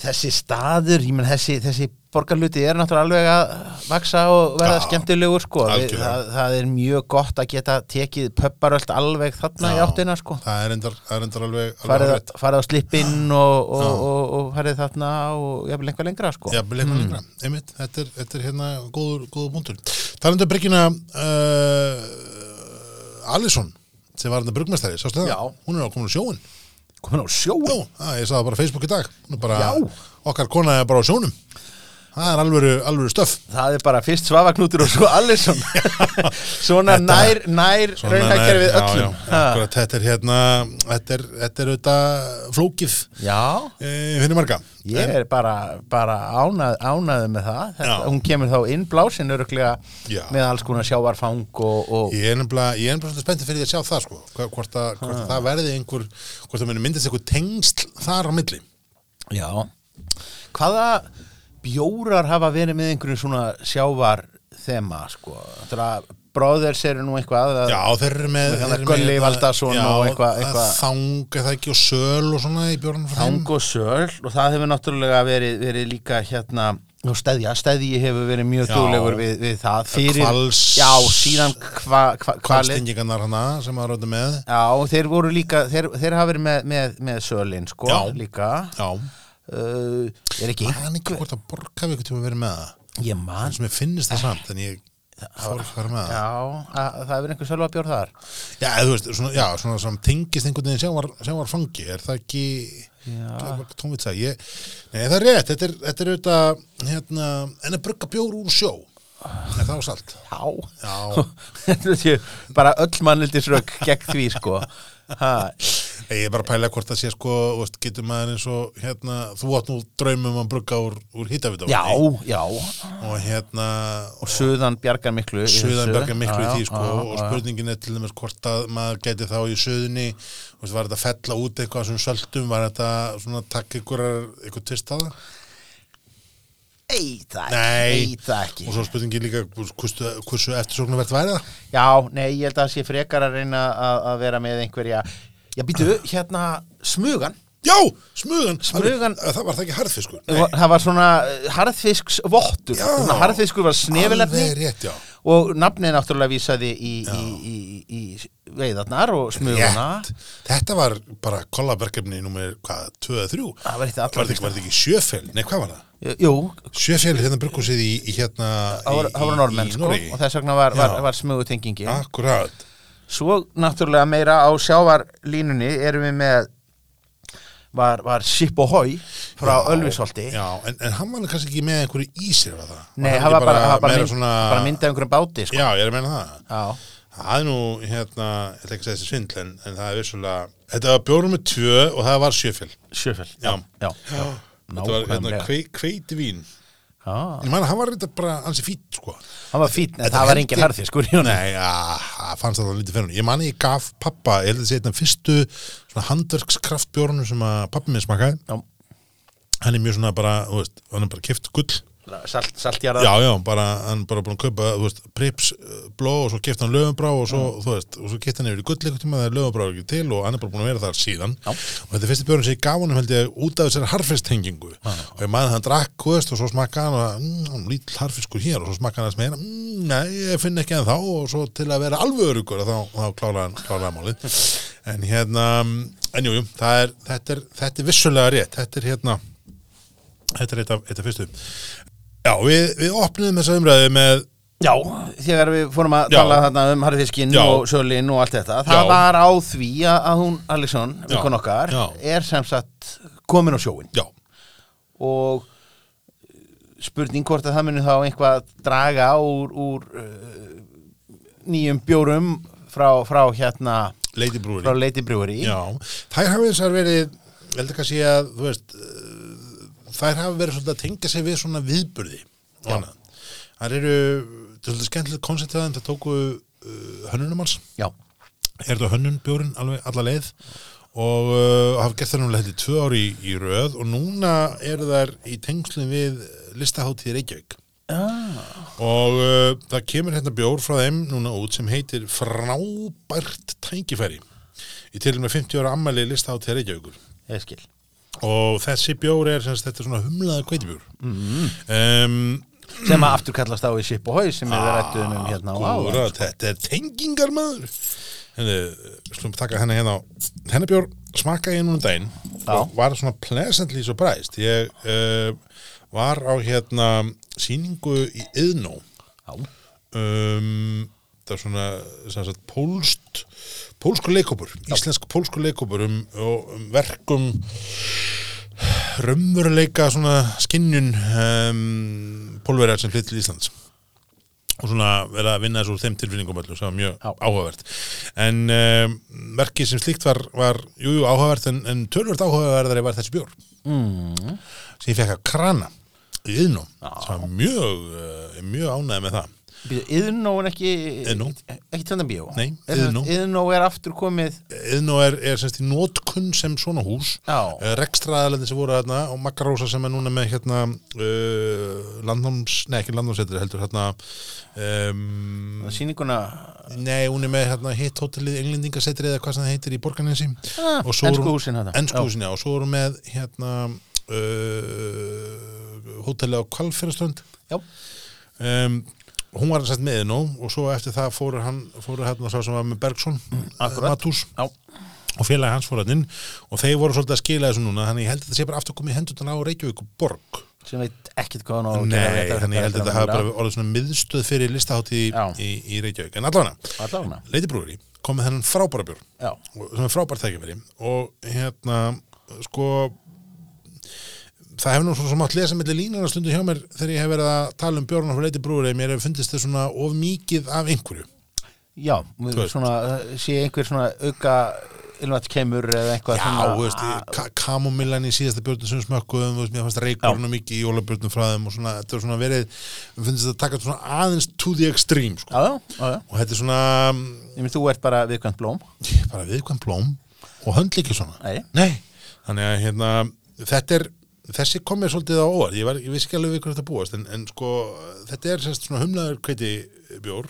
Speaker 2: þessi staður, ég menn þessi, þessi borgarluti er náttúrulega alveg að vaksa og verða
Speaker 1: Já,
Speaker 2: skemmtilegur sko Við,
Speaker 1: algjörlega.
Speaker 2: það, það er mjög gott að geta tekið pöpparöld alveg þarna í
Speaker 1: Já.
Speaker 2: áttina sko
Speaker 1: það er endar, það er endar alveg, alveg
Speaker 2: farið,
Speaker 1: hárrétt.
Speaker 2: farið á slippinn og, og, og, og farið þarna og jafnvel einhver lengra sko
Speaker 1: Já, leikma lengra, einmitt, þetta er, þetta er hérna góður, góður búndur. Talandi um bryggjuna uh, Alisson, sem var hérna brugmestari, sástu það?
Speaker 2: Já.
Speaker 1: Hún er á komin á sjóin.
Speaker 2: komin á sjóin
Speaker 1: Já, að, ég sá það bara á Facebook í dag. Hún er bara,
Speaker 2: Já.
Speaker 1: okkar kona er bara á sjónum. það er alvöru, alvöru stöf
Speaker 2: Það er bara fyrst Svavagnútur og svo Allison Svona nær, nær raunhækkerfið öllum
Speaker 1: já, já,
Speaker 2: Ha.
Speaker 1: akkurat, þetta er hérna þetta er, þetta er auðvitað flókið
Speaker 2: já,
Speaker 1: e, fyrir marga
Speaker 2: ég er bara, bara ánað, ánaðið með það þetta,
Speaker 1: Já.
Speaker 2: Hún kemur þá inn blásin öruglega
Speaker 1: Já.
Speaker 2: með alls konar sjávarfang og, og
Speaker 1: Ég er nefnilega, ég er nefnilega svolítið spenntið fyrir því að sjá það sko, hva- hvort, að, hvort að það verði einhver, hvort það muni myndast einhver tengsl þar á milli.
Speaker 2: Já Hvaða bjórar hafa verið með einhverjum svona sjávar þema sko Þetta að bróðers eru nú eitthvað að
Speaker 1: Já, þeir eru með...
Speaker 2: Þannig
Speaker 1: þeir
Speaker 2: að
Speaker 1: eru
Speaker 2: Gulli
Speaker 1: með-
Speaker 2: Valdason
Speaker 1: já,
Speaker 2: og eitthvað- eitthvað-
Speaker 1: Þang, er það ekki, og söl og svona í björnum frá þeim.
Speaker 2: þang og söl og það hefur náttúrulega verið, verið líka hérna og stæðja, stæðji hefur verið mjög
Speaker 1: Já.
Speaker 2: dúlegur við, við það fyrir,
Speaker 1: Hvals-
Speaker 2: já, síðan hva, hva, hvalið
Speaker 1: Kvalstingingarnar hana sem að ráta með.
Speaker 2: já, þeir voru líka, þeir, þeir hafa verið með, með, með sölin, sko,
Speaker 1: Já.
Speaker 2: líka
Speaker 1: Já.
Speaker 2: uh, er ekki,
Speaker 1: Það er ekki hvort að borga við eitthvað tíma verið með það.
Speaker 2: ég man
Speaker 1: Það sem ég finnist það samt, en ég fór ekki að fara með það.
Speaker 2: já, að, það hefur einhver sölvabjór þar
Speaker 1: Já, eða þú veist, svona, já, svona sem tengist einhvern veginn sem var, sem var fangi, er það ekki tónvitsa, ég nei, það er rétt, þetta er, þetta er auðvitað hérna, en að brugga bjór úr sjó er það á salt
Speaker 2: já,
Speaker 1: Já,
Speaker 2: Þetta séu bara öll mannildisrök gegn því sko ha,
Speaker 1: ég er bara að pæla hvort það sé sko, þú veist, getur maður eins og hérna, þú átt nú draumum að brugga úr, úr hýtavita
Speaker 2: já, já
Speaker 1: og hérna
Speaker 2: og suðan bjargar miklu í þessu.
Speaker 1: Suðan bjarga miklu í
Speaker 2: Já,
Speaker 1: því sko
Speaker 2: já,
Speaker 1: og
Speaker 2: já.
Speaker 1: spurningin er til dæmis hvort að maður geti þá í suðunni þú veist, var þetta að fella út eitthvað sem svöldum, var þetta svona að taka ykkur, ykkur tvistáða?
Speaker 2: Ei, það
Speaker 1: Nei.
Speaker 2: ekki, ei, það ekki.
Speaker 1: Og svo spurningi líka hversu, hversu eftirsóknarvert væri það?
Speaker 2: Já, nei, ég held að það sé frekar að reyna að, að vera með einhverja Já, býtu, hérna, smugan
Speaker 1: Já, smugan!
Speaker 2: Smugan-
Speaker 1: Alveg, Það var það ekki harðfiskur?
Speaker 2: Það var svona eh, harðfisksvottur
Speaker 1: Já.
Speaker 2: Svona Harðfiskur var
Speaker 1: Alveg
Speaker 2: snefilefni
Speaker 1: rétt, já.
Speaker 2: Og nafnið náttúrulega vísaði í, í, í, í, í veiðarnar og smuguna
Speaker 1: Rétt. Þetta var bara kollaverkefni númer, hvað, 2 eða 3?
Speaker 2: Það var eitt allra
Speaker 1: Var þetta ekki, var þetta ekki sjöfell? Nei, hvað var það?
Speaker 2: Jú,
Speaker 1: Sjöfell hérna brukkúsið í, í hérna
Speaker 2: það voru-
Speaker 1: í-
Speaker 2: það voru
Speaker 1: í-
Speaker 2: normenn
Speaker 1: í
Speaker 2: sko
Speaker 1: Noregi.
Speaker 2: Og þess vegna var, var,
Speaker 1: Já.
Speaker 2: var smugutengingin
Speaker 1: Akkurát.
Speaker 2: Svo náttúrulega meira á sjávarlínunni erum við með var, var Ship Ahoy frá
Speaker 1: Já,
Speaker 2: Ölfisholti
Speaker 1: Já, en, en hann var kannski ekki með einhverju ísir var það?
Speaker 2: Eh. Nei,
Speaker 1: hann
Speaker 2: það var
Speaker 1: ekki
Speaker 2: bara, bara, bara,
Speaker 1: meira
Speaker 2: mynd, bara myndað einhverjum báti sko.
Speaker 1: Já, ég er að meina það.
Speaker 2: Já,
Speaker 1: Það er nú, hérna, ég ætla ekki að segja þessi svindl, en, en það er vissulega, þetta var bjórum með tvö og það var sjöfél.
Speaker 2: sjöfell
Speaker 1: Já.
Speaker 2: já, já.
Speaker 1: Þetta var hérna
Speaker 2: Nákvæmlega.
Speaker 1: kvei, kveiti vín.
Speaker 2: Já,
Speaker 1: Ég man að hann var reynda bara ansi fít, sko.
Speaker 2: hann var fín, en
Speaker 1: Þetta
Speaker 2: það var
Speaker 1: hendi-
Speaker 2: engin harði sko í honum.
Speaker 1: Nei, já, það fannst það þá lítið fyrir hún. Ég man að ég gaf pappa, ég held að segja þetta fyrstu svona handverkskraftbjórnum sem að pappi minn smakaði.
Speaker 2: Já,
Speaker 1: Hann er mjög svona bara, þú veist, hann er bara kift gull.
Speaker 2: bara Salt, saltjarða
Speaker 1: Já, já, bara, hann bara búin að kaupa, þú veist, prips, uh, bló og svo kipta hann löfumbrá og svo, þú veist, og svo kipta hann yfir í gull eitthvað tíma þegar löfumbrá er ekki til og hann er bara búin að vera þar síðan.
Speaker 2: Já.
Speaker 1: Og þetta er fyrsti björn sem ég gaf honum held ég út af þessari harfistengingu. Og ég maður hann drakk, þú veist, og svo smakka hann og mm, hann lítill harfiskur hér og svo smakka hann þess meira, mm, nei, ég finn ekki en þá og svo til að vera alveg örugur þá, þá klára hann, klára hann málið. En hérna, en jú, jú, það er, þetta er, þetta er vissulega rétt, þetta er hérna, Þetta er eitt af, eitt af fyrstu. Já, við, við opnum þessa umræðu með
Speaker 2: Já, þegar við fórum að
Speaker 1: Já.
Speaker 2: tala þarna um harðfiskinn
Speaker 1: Já.
Speaker 2: og sölinn og allt þetta Það
Speaker 1: Já.
Speaker 2: var á því að að hún, Alisson, vinkon okkar
Speaker 1: Já.
Speaker 2: er sem sagt komin á sjóin
Speaker 1: Já,
Speaker 2: og eh, spurning hvort að það muni þá eitthvað draga úr, úr uh, nýjum bjórum frá, frá hérna
Speaker 1: Lady
Speaker 2: frá
Speaker 1: Brewery
Speaker 2: Lady Brewery
Speaker 1: Já, þær hafa eins og verið ég held ekki að sé að, þú veist eh, þær hafa verið svolítið að tengja sig við svona viðburði og annað Þær eru, þetta er svolítið skemmtilegt konceptið það tóku uh, hönnunumars
Speaker 2: Já.
Speaker 1: er þetta hönnun bjórin alveg alla leið og uh, hafa gert það núna hætti tvö ári í, í röð og núna eru þær í tengslum við listaháttíð Reykjavík og uh, það kemur hérna bjór frá þeim núna út sem heitir frábært tækifæri í til og með 50 ára ammæli listaháttíð Reykjavíkur
Speaker 2: ég skil
Speaker 1: og þessi bjór er sem sagt, þetta er svona humlaða kveitibjór um,
Speaker 2: sem að aftur kallast á í Ship Ahoy sem
Speaker 1: Ah,
Speaker 2: við rættum um hérna á áðan.
Speaker 1: Akkurat, þetta er tengingar maður Henni, slum taka henni hérna á Henni bjór smakaði ég núna um daginn
Speaker 2: Já.
Speaker 1: og var svona pleasantly surprised Ég uh, var á hérna sýningu í Iðnó
Speaker 2: Já.
Speaker 1: um, það er svona sem sagt, pólst pólsku leikópur, íslensk pólsku leikópur um, og- um verkum raunveruleika svona skinnjun um, pólverjar sem flytt til Íslands og svona vera að vinna þessu úr þeim tilfinningum öllu sem var mjög
Speaker 2: Já.
Speaker 1: áhugavert en um, verkið sem slíkt var, var jú, jú, áhugavert en, en tölvöld áhugaverðari var þessi bjór
Speaker 2: mm.
Speaker 1: sem ég fekk að krana í yðnum
Speaker 2: Já.
Speaker 1: sem var mjög, uh, mjög ánæði með það
Speaker 2: Iðnó en ekki
Speaker 1: Iðnó.
Speaker 2: Ekki tjöndabíó
Speaker 1: Nei, Iðnó.
Speaker 2: Iðnó er aftur komið
Speaker 1: Iðnó er, er semst í nótkunn sem svona hús
Speaker 2: Já.
Speaker 1: rekstraðalendin sem voru þarna og Makarósa sem er núna með hérna uh, landnáms, nei ekki landnámsettir heldur hérna um,
Speaker 2: Sýninguna
Speaker 1: nei hún er með hérna hitt hótelið englendingasettir eða hvað sem það heitir í borgarnesi
Speaker 2: ah,
Speaker 1: Og svo er
Speaker 2: Ensku
Speaker 1: hún-
Speaker 2: húsin þetta
Speaker 1: ennskúsin já og svo voru með hérna uh, hótelið á Kvalfjörðströnd
Speaker 2: Já.
Speaker 1: um, hún var sett með Iðnó og svo eftir það fóru hann fóru hérna sá sem var með Bergson
Speaker 2: Mm, akkurat.
Speaker 1: Matús
Speaker 2: Já,
Speaker 1: og félagi hans fór hann og þeir voru svolítið að skila þessu núna þannig ég held að þetta sé bara aftur komið hendutan á Reykjavík og borg
Speaker 2: sem veit ekkert hvað hann á að gera
Speaker 1: Nei,
Speaker 2: þetta.
Speaker 1: þannig ég held að þetta hafi bara
Speaker 2: er
Speaker 1: orðið svona miðstöð fyrir listahátt í,
Speaker 2: Já.
Speaker 1: í, í Reykjavík en allavega,
Speaker 2: Allavega.
Speaker 1: leitibrúri komið þennan frábæra björn
Speaker 2: Já,
Speaker 1: og- sem er frábært tækifæri og hérna, sko það hefur nú svona mátt lesa mellir línana stundu hjá mér þegar ég hef verið að tala um björn og leitibrúri mér hefur fundist þess svona of mikið af einhverju
Speaker 2: já við
Speaker 1: Þú veist.
Speaker 2: svona, eh, sé einhver svona auka ilmvætt kemur eða eitthvað
Speaker 1: Já, þú veist, ka kamomillan í síðasta björnum sem við smökkuðum, þú veist, mér fannst reikurinn mikið í jólabjörnum frá þeim og svona, þetta er svona verið, við finnst þetta að taka svona aðeins to the extreme, sko.
Speaker 2: Já, já, já, já.
Speaker 1: Og þetta er svona, mm,
Speaker 2: Ég minn, þú ert bara viðkvæmt blóm.
Speaker 1: ég er bara viðkvæm blóm og höndl ekki svona.
Speaker 2: Nei.
Speaker 1: Þannig að, hérna, þetta er, þessi kom mér svolítið á óvart, ég, var, ég vissi ekki alveg við hverju þetta búast, en, en sko, þetta er sérst svona humlaður kveiti bjór,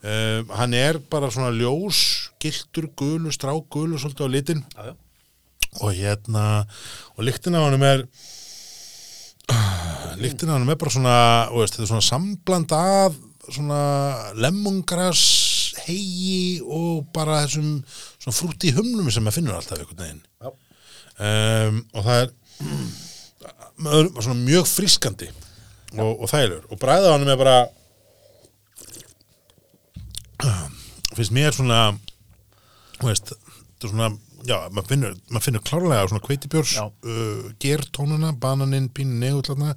Speaker 1: Um, hann er bara svona ljós, giltur, gulu, strá, gulu, svolítið á litin
Speaker 2: Já, já.
Speaker 1: og hérna og lyktin af honum er lyktin af honum er bara svona þú veist, þetta er svona sambland af svona lemungras hegi og bara þessum svona frúti humlum sem maður finnur alltaf einhvern veginn
Speaker 2: Já.
Speaker 1: um, og það er maður, svona mjög frískandi og, og þægilegur og bræða honum er bara finnst mér svona þú veist, þetta er svona já, maður finnur, maður finnur klárlega svona kveitibjörs,
Speaker 2: Já.
Speaker 1: uh, gertónuna bananinn, pínu negullana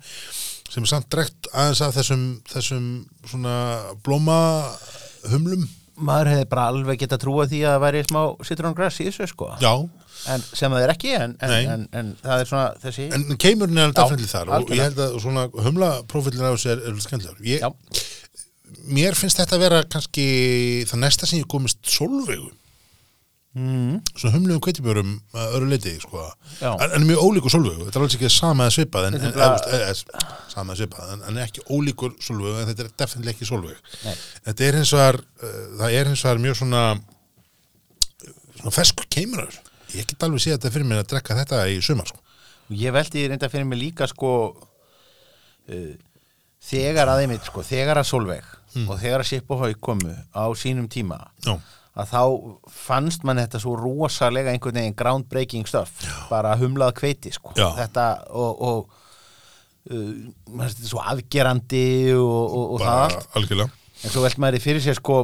Speaker 1: sem er samt drekt aðeins af þessum þessum svona blóma humlum,
Speaker 2: Maður hefði bara alveg geta trúa því að það væri smá sitróngrass í þessu, sko.
Speaker 1: já
Speaker 2: En sem það er ekki, en, en,
Speaker 1: Nei.
Speaker 2: en, en það er svona þessi...
Speaker 1: en keimurinn er alveg
Speaker 2: Já,
Speaker 1: dafnilega þar og ég
Speaker 2: algjörlega.
Speaker 1: held að svona humlaprófillin á þessu er, er skemmtilegur
Speaker 2: já,
Speaker 1: ég, mér finnst þetta að vera kannski það næsta sem ég komist sólvegu
Speaker 2: mm,
Speaker 1: svona humlegum kveitibjörum að öru leiti sko.
Speaker 2: Já.
Speaker 1: en, en mjög ólíkur sólvegu þetta er alveg ekki sama að svipað en,
Speaker 2: Þetta er
Speaker 1: en,
Speaker 2: bara-
Speaker 1: eða, eða, sama að svipað en, en ekki ólíkur sólvegu en þetta er definitílega ekki sólvegu
Speaker 2: Nei.
Speaker 1: þetta er hins vegar uh, það er hins vegar mjög svona svona feskur keimur ég get alveg séð þetta fyrir mér að drekka þetta í sumar sko.
Speaker 2: ég veldi reynda fyrir mig líka, sko, uh, þegar að einmitt, sko, þegar að Solveig
Speaker 1: Hmm.
Speaker 2: og þegar að Sipp og Haug komu á sínum tíma,
Speaker 1: já,
Speaker 2: að þá fannst mann þetta svo rosalega einhvern veginn groundbreaking stuff bara humlað kveiti sko
Speaker 1: Já.
Speaker 2: þetta og, og uh, maður finnst þetta svo afgerandi og, og, og það
Speaker 1: bara
Speaker 2: allt
Speaker 1: algjörlega
Speaker 2: en svo velt maður því fyrir sér sko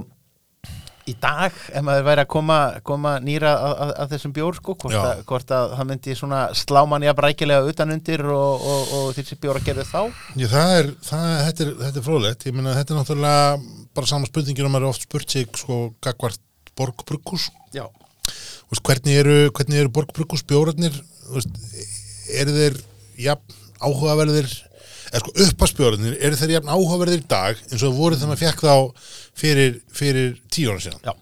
Speaker 2: í dag ef maður væri að koma, koma nýra að, að, að þessum bjór sko hvort,
Speaker 1: Já.
Speaker 2: að, hvort að það myndi svona slá mann jafn rækilega utanundir og, og, og þessi bjór að gera þá
Speaker 1: Já, það er, það, þetta er, þetta er fróðlegt, ég meina þetta er náttúrulega bara saman spurningin og maður er oft spurt sig sko gagvart borgbrukus
Speaker 2: já,
Speaker 1: Þú veist, hvernig eru, hvernig eru borgbrukus bjórarnir Þú veist, eru þeir jafn áhugaverðir eða sko uppaspjórarnir, eru þeir jafn áhugaverðir í dag eins og það voru þegar maður fekk þá fyrir, fyrir tíu ára síðan
Speaker 2: já,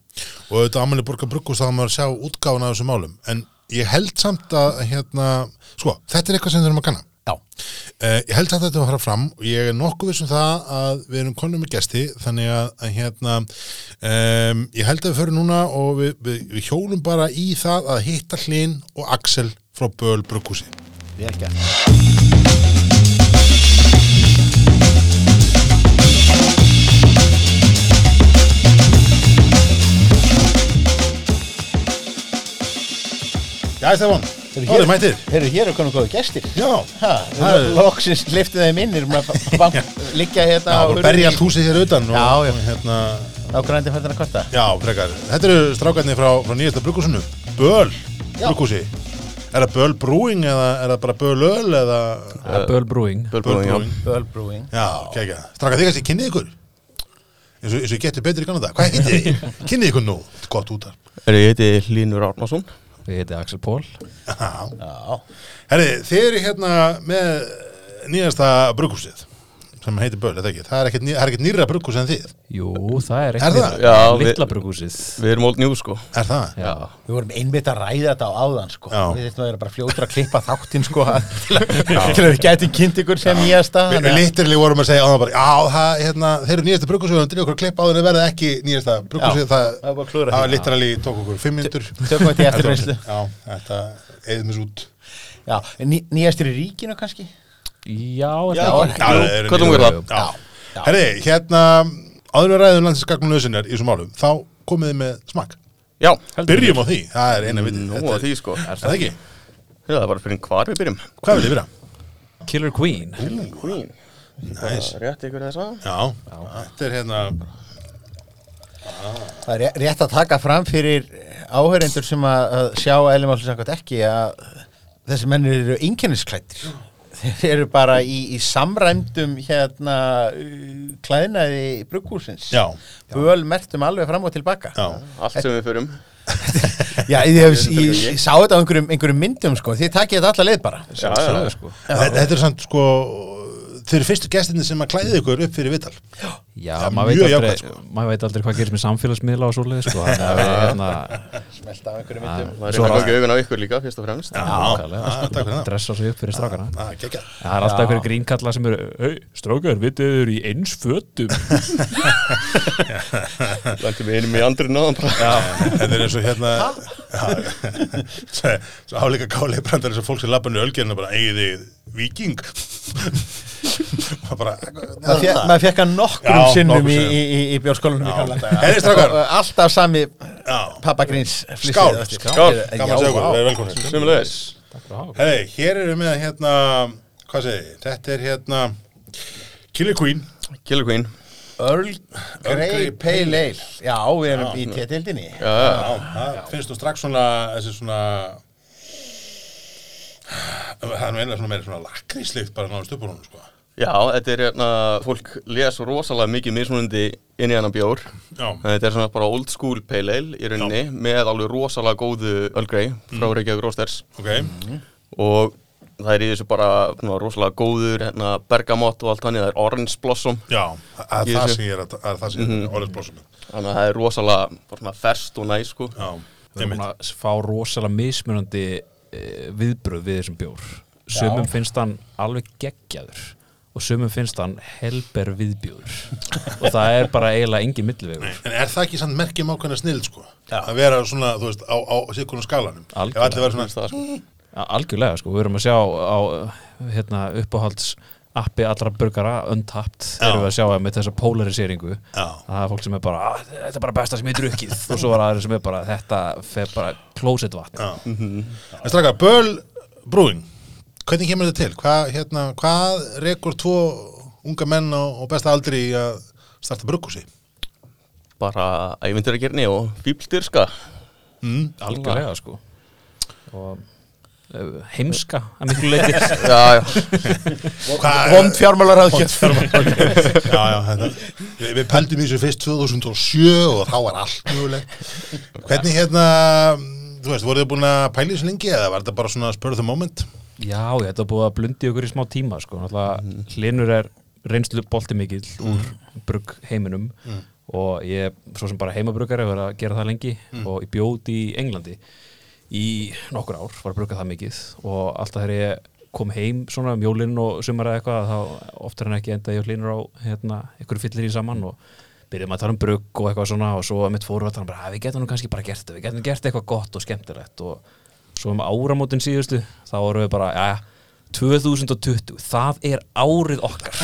Speaker 1: og auðvitað ammæli borgar bruggus þá á maður að sjá útgáfuna af þessum málum en ég held samt að hérna, sko, þetta er eitthvað sem við þurfum að kanna
Speaker 2: já,
Speaker 1: Uh, ég held samt að þetta var að fara fram og ég er nokkuð vissum það að við erum konum með gesti þannig að, að hérna um, ég held að við förum núna og við, við, við hjólum bara í það að hitta Hlyn og Axel frá Böl Brukkúsi.
Speaker 2: við erum gert
Speaker 1: Já, það var hann. Það er mættir.
Speaker 2: Heru, hér er konum góðu gestir
Speaker 1: Já,
Speaker 2: Ha, hérna,
Speaker 1: það er-
Speaker 2: loksins liftið þeim inn erum að bank, liggja hérna
Speaker 1: Já,
Speaker 2: á
Speaker 1: og
Speaker 2: hurðinni
Speaker 1: berja allt húsið hér utan og,
Speaker 2: Já, já.
Speaker 1: og hérna,
Speaker 2: á grændi fættina kvarta
Speaker 1: já, frekar. Þetta eru strákarnir frá, frá nýjasta Brukkúsinu, Böl
Speaker 2: Já.
Speaker 1: Brukkúsi. Er það Böl Brewing eða er það bara Böl Öl eða
Speaker 3: Eh,
Speaker 4: Uh, Böl Brewing
Speaker 1: Böl Brewing?
Speaker 2: Bölbrúing
Speaker 1: Já, kækja. Stráka þig kannski, kynnið ykkur. Eins og, eins og ég getur betur í kannan það. Hvað heitið þið? kynnið ykkur nú. Þetta er Gott út af.
Speaker 3: Er ég heiti Hlynur Árnason
Speaker 4: Ég heiti Axel Pól
Speaker 2: Já,
Speaker 1: Herri, þið eru hérna með nýjasta brugghúsið sem heitir Böl, eða ekki. Það er ekkert, ný, það er ekkert nýra brugghús en þið.
Speaker 4: Jú, það
Speaker 1: Er
Speaker 4: er
Speaker 1: það?
Speaker 4: ekkert
Speaker 3: Já, við-
Speaker 4: Littla brugúsið
Speaker 3: Við erum old news sko
Speaker 1: Er það?
Speaker 4: Já,
Speaker 2: við vorum einmitt að ræða þetta á áðan sko.
Speaker 1: Já.
Speaker 2: Við þurfum að vera bara fljótur að klippa þáttinn sko, að- til að til að við gætum kynnt ykkur sem nýjasta
Speaker 1: Við við
Speaker 2: þannig að-
Speaker 1: litirli vorum að segja á það bara, já, það, hérna, þeir eru nýjasta brugghúsið, við höfum drifið okkur að klippa á þeirra verða ekki nýjasta brugghúsið,
Speaker 2: Já,
Speaker 1: það,
Speaker 2: það var bara að klúðra því.
Speaker 1: var litirli tók okkur fimm minntur.
Speaker 2: Tökum þetta í eftirvinnslu
Speaker 1: Já, þetta eðum þessu út.
Speaker 2: Já, ný, Nýjastir í ríkinu kannski
Speaker 4: já, er
Speaker 2: Já,
Speaker 4: það ekki?
Speaker 1: Já,
Speaker 3: Jú,
Speaker 1: það eru
Speaker 3: hvað þú
Speaker 1: nýju-
Speaker 3: verður það?
Speaker 1: Já. Herri, hérna, áður en við ræðum landsinskaknum lausinjar í þessum málum, þá komið þið með smakk.
Speaker 3: Já,
Speaker 4: Heldur
Speaker 1: Byrjum á því, það er eina vitið.
Speaker 3: nú
Speaker 1: Þetta
Speaker 3: að því sko
Speaker 1: Er það ekki?
Speaker 3: Það er bara fyrir hvar við byrjum
Speaker 1: Hvað vil ég vera?
Speaker 4: Killer Queen
Speaker 3: Queen
Speaker 1: Næs.
Speaker 3: Rétt ykkur þessa
Speaker 1: Já, þetta er hérna,
Speaker 2: Það er ré- rétt að taka fram fyrir áhörendur sem að að sjá eðlumálsins akkur ekki að þessi menn eru einkennisklættir. Þeir eru bara í, í samræmdum hérna uh, klæðnaði brugghúsins.
Speaker 1: já,
Speaker 2: Böl mertum alveg fram og tilbaka.
Speaker 1: já.
Speaker 3: Allt sem við förum
Speaker 2: Já, ég, ég, ég, ég sá þetta á einhverjum, einhverjum myndum sko. Þið takið þetta alla leið bara.
Speaker 3: Já, já,
Speaker 4: sko.
Speaker 1: Þetta þetta er samt sko, þeir eru fyrstu gestinni sem að klæði ykkur upp fyrir vital.
Speaker 4: Já,
Speaker 1: Það er
Speaker 4: maður
Speaker 1: mjög
Speaker 4: veit, aldrei,
Speaker 1: jákvætt, sko.
Speaker 4: maður veit aldrei hvað gerist með samfélagsmiðla og svoleið sko. þannig að við, hérna,
Speaker 2: Smelta á einhverjum myndum.
Speaker 3: Það er
Speaker 4: Svo
Speaker 3: rétt að
Speaker 4: að-
Speaker 3: gangi augun á ykkur líka fyrst og fremst
Speaker 1: Já,
Speaker 4: nákvæmlega,
Speaker 1: já,
Speaker 4: sko,
Speaker 1: takk fyrir það.
Speaker 4: dressa sig upp fyrir strákana
Speaker 1: Það er Ah, geggjað.
Speaker 4: En Það er alltaf einhverjir grínkalla sem eru Hei, strákar, vitið þið eru í eins fötum
Speaker 3: Lendum við einum í andri náðan bara
Speaker 1: Þetta er eins og hérna Já. Svo svo álíka kálega brandar eins og fólk sem lappa niður ölgerinu bara eigið þið viking og bara
Speaker 2: Maður fékk- maður fekk að nokkrum
Speaker 1: Já,
Speaker 2: sinnum
Speaker 1: nokkrum
Speaker 2: í,
Speaker 1: sinnum.
Speaker 2: í, í, í bjórskólanum í gamla daga.
Speaker 1: Heyrðu, strákar.
Speaker 2: Og Alltaf sami
Speaker 1: Já.
Speaker 2: pappagríns
Speaker 1: Skál,
Speaker 3: skál.
Speaker 1: gaman sögur, við erum velkomin
Speaker 3: Sumulegis
Speaker 1: Hei, hér erum við hérna hvað segir, þið? þetta er hérna Killer Queen
Speaker 3: Killer Queen
Speaker 2: Earl
Speaker 1: Grey
Speaker 2: Grey Pale Ale Já, við erum í tétildinni
Speaker 3: Já, já
Speaker 1: Já, það finnst þú strax svona þessi svona það er nú eina svona meira svona lakríslikt bara náðist upp úr hún sko.
Speaker 3: Já, þetta er hérna, fólk les rosalega mikið mismunandi inn í hennar bjór
Speaker 1: Já.
Speaker 3: En Þetta er svona bara old school pale ale í rauninni með alveg rosalega góðu Earl Grey frá
Speaker 1: Mm.
Speaker 3: Reykjavík Rósters
Speaker 1: ok,
Speaker 3: og það er í þessu bara svona, rosalega góður hérna, bergamott og allt þannig, það er orange blossom
Speaker 1: já það það er
Speaker 3: Ég
Speaker 1: það
Speaker 3: sé.
Speaker 1: sem ég er að það er það sem ég er að orðið blósum
Speaker 3: þannig að það er rosalega bara svona, ferst og næ sko.
Speaker 1: Já,
Speaker 4: Við erum búin að fá rosalega mismunandi e, viðbröð við þessum bjór Sumum finnst hann alveg geggjaður og sumum finnst hann helber viðbjóður og það er bara eiginlega engin millivegur
Speaker 1: En er það ekki samt merkjum ákveðna snild sko? Að vera svona, þú veist, á, á sikkunum skalanum
Speaker 4: Algjörlega.
Speaker 1: Ef allir verður
Speaker 3: Finnst
Speaker 1: svona
Speaker 3: það, sko.
Speaker 4: A- Algjörlega sko, við erum að sjá á hérna, uppáhalds appi allra burgara, untapt
Speaker 1: Já.
Speaker 4: erum við að sjá að með þessa polariseringu
Speaker 1: Já.
Speaker 4: það er fólk sem er bara, "Ah, þetta er bara besta sem ég hef drukkið og svo var aðeins sem er bara, þetta fer bara klósett vatn
Speaker 1: Já. En straka, Böl Brúing Hvernig kemur þetta til? Hvað, hérna, hvað rekur tvo unga menn og, og besta aldri í að starta brugghúsi?
Speaker 3: bara ævindir að gerni og fíbldyrska
Speaker 1: Mm.
Speaker 4: algjörlega sko og eh, heimska að miklu leiti
Speaker 3: já, já,
Speaker 1: Hvað-
Speaker 2: Vond fjármálar
Speaker 1: Vond fjármálaráðgjöf. Já, já, þetta Við, við pældum í þessu fyrst 2007 og þá var allt mjögulegt Hvernig hérna, þú veist, voruð þið búin að pæla í þessu lengi eða var þetta bara svona spur the moment?
Speaker 4: já, ég þetta er búið að blundi okkur í smá tíma sko, náttúrulega hlinur er reynslu bolti mikill úr brugg heiminum og ég er svo sem bara heimabruggar hefur að gera það lengi og ég bjóð í Englandi í nokkur ár, var að brugga það mikið og alltaf þegar ég kom heim svona um jólinn og sumar eða eitthvað þá oftar en ekki enda ég og hlinur á hérna, einhverju fyllir í saman og byrjuðum að tala um brugg og eitthvað svona og svo mitt fóru að tala um bara, "Ah, við getum nú kannski bara gert þetta, við getum gert eitthvað gott og skemmtilegt og svo um áramótin síðustu þá vorum við bara, já, 2020, það er árið okkar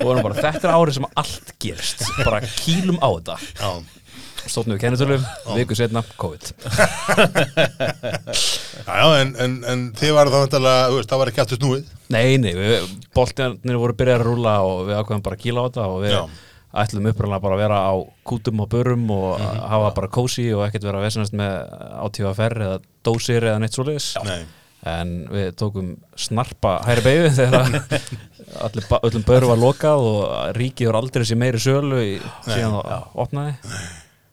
Speaker 4: og vorum bara, þetta er árið sem allt gerist, bara kýlum á þetta
Speaker 1: Já,
Speaker 4: stóðnum við kennitölum, viku setna, COVID
Speaker 1: Já, já, en, en, en þið varu þá vantarlega, þú veist, það var ekki aftur snúið.
Speaker 4: Nei, nei, við, boltinir voru byrjað að rúla og við ákveðum bara að kýla á þetta og við
Speaker 1: Já.
Speaker 4: ætlum upprænlega bara að vera á kútum og börum og
Speaker 1: Mhm.
Speaker 4: hafa bara kósi og ekkert vera að vesenast með átífa ferri eða dósir eða neitt svoleiðis
Speaker 1: Nei.
Speaker 4: en við tókum snarpa hæri beigðu þegar að allir, ba- öllum böru var lokað og ríkið var aldrei sér meiri sölu í, síðan það opnaði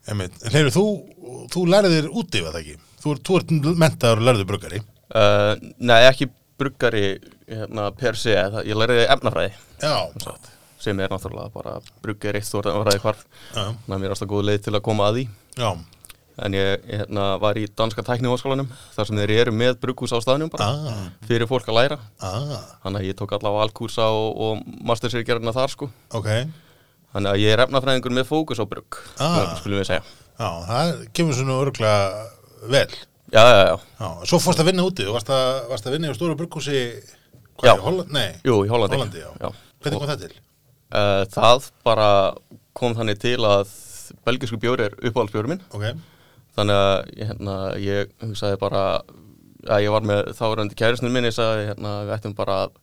Speaker 1: Einmitt. En hefur þú, þú lærðir úti var það ekki? Þú, ert- þú ert mentaður og lærður brugari
Speaker 3: Uh, nei, ekki bruggari hérna, per se, það- ég læriði efnafræði
Speaker 1: Já,
Speaker 3: satt, sem er náttúrulega bara bruggari eitt stórt efnafræði hvarf
Speaker 1: já,
Speaker 3: þannig að mér er alltaf góð leið til að koma að því
Speaker 1: já.
Speaker 3: en ég hérna, var í danska tækniháskólanum þar sem þeir eru með brugghús á staðnum bara,
Speaker 1: Ah,
Speaker 3: fyrir fólk að læra
Speaker 1: ah,
Speaker 3: þannig að ég tók allavega alkúrsa og, og mastersirgerðina þar sko
Speaker 1: ok
Speaker 3: þannig að ég er efnafræðingur með fókus á brugg
Speaker 1: Ah.
Speaker 3: skulum við segja
Speaker 1: Já, það kemur svona örgulega vel
Speaker 3: já, já, já,
Speaker 1: Já, svo fórst að vinna úti, þú varst að, varst að vinna í stóru brugghúsi Hvað
Speaker 3: Já.
Speaker 1: er, Holland? Nei,
Speaker 3: jú, í Hollandi,
Speaker 1: Hollandi, já.
Speaker 3: Já.
Speaker 1: hvernig kom það til?
Speaker 3: Uh, það bara kom þannig til að belgisku bjóri er uppáhaldsbjóri minn
Speaker 1: Ok,
Speaker 3: þannig að hérna, ég hugsaði bara að ég var með þárandi kærusnum minni ég sagði hérna, við ættum bara að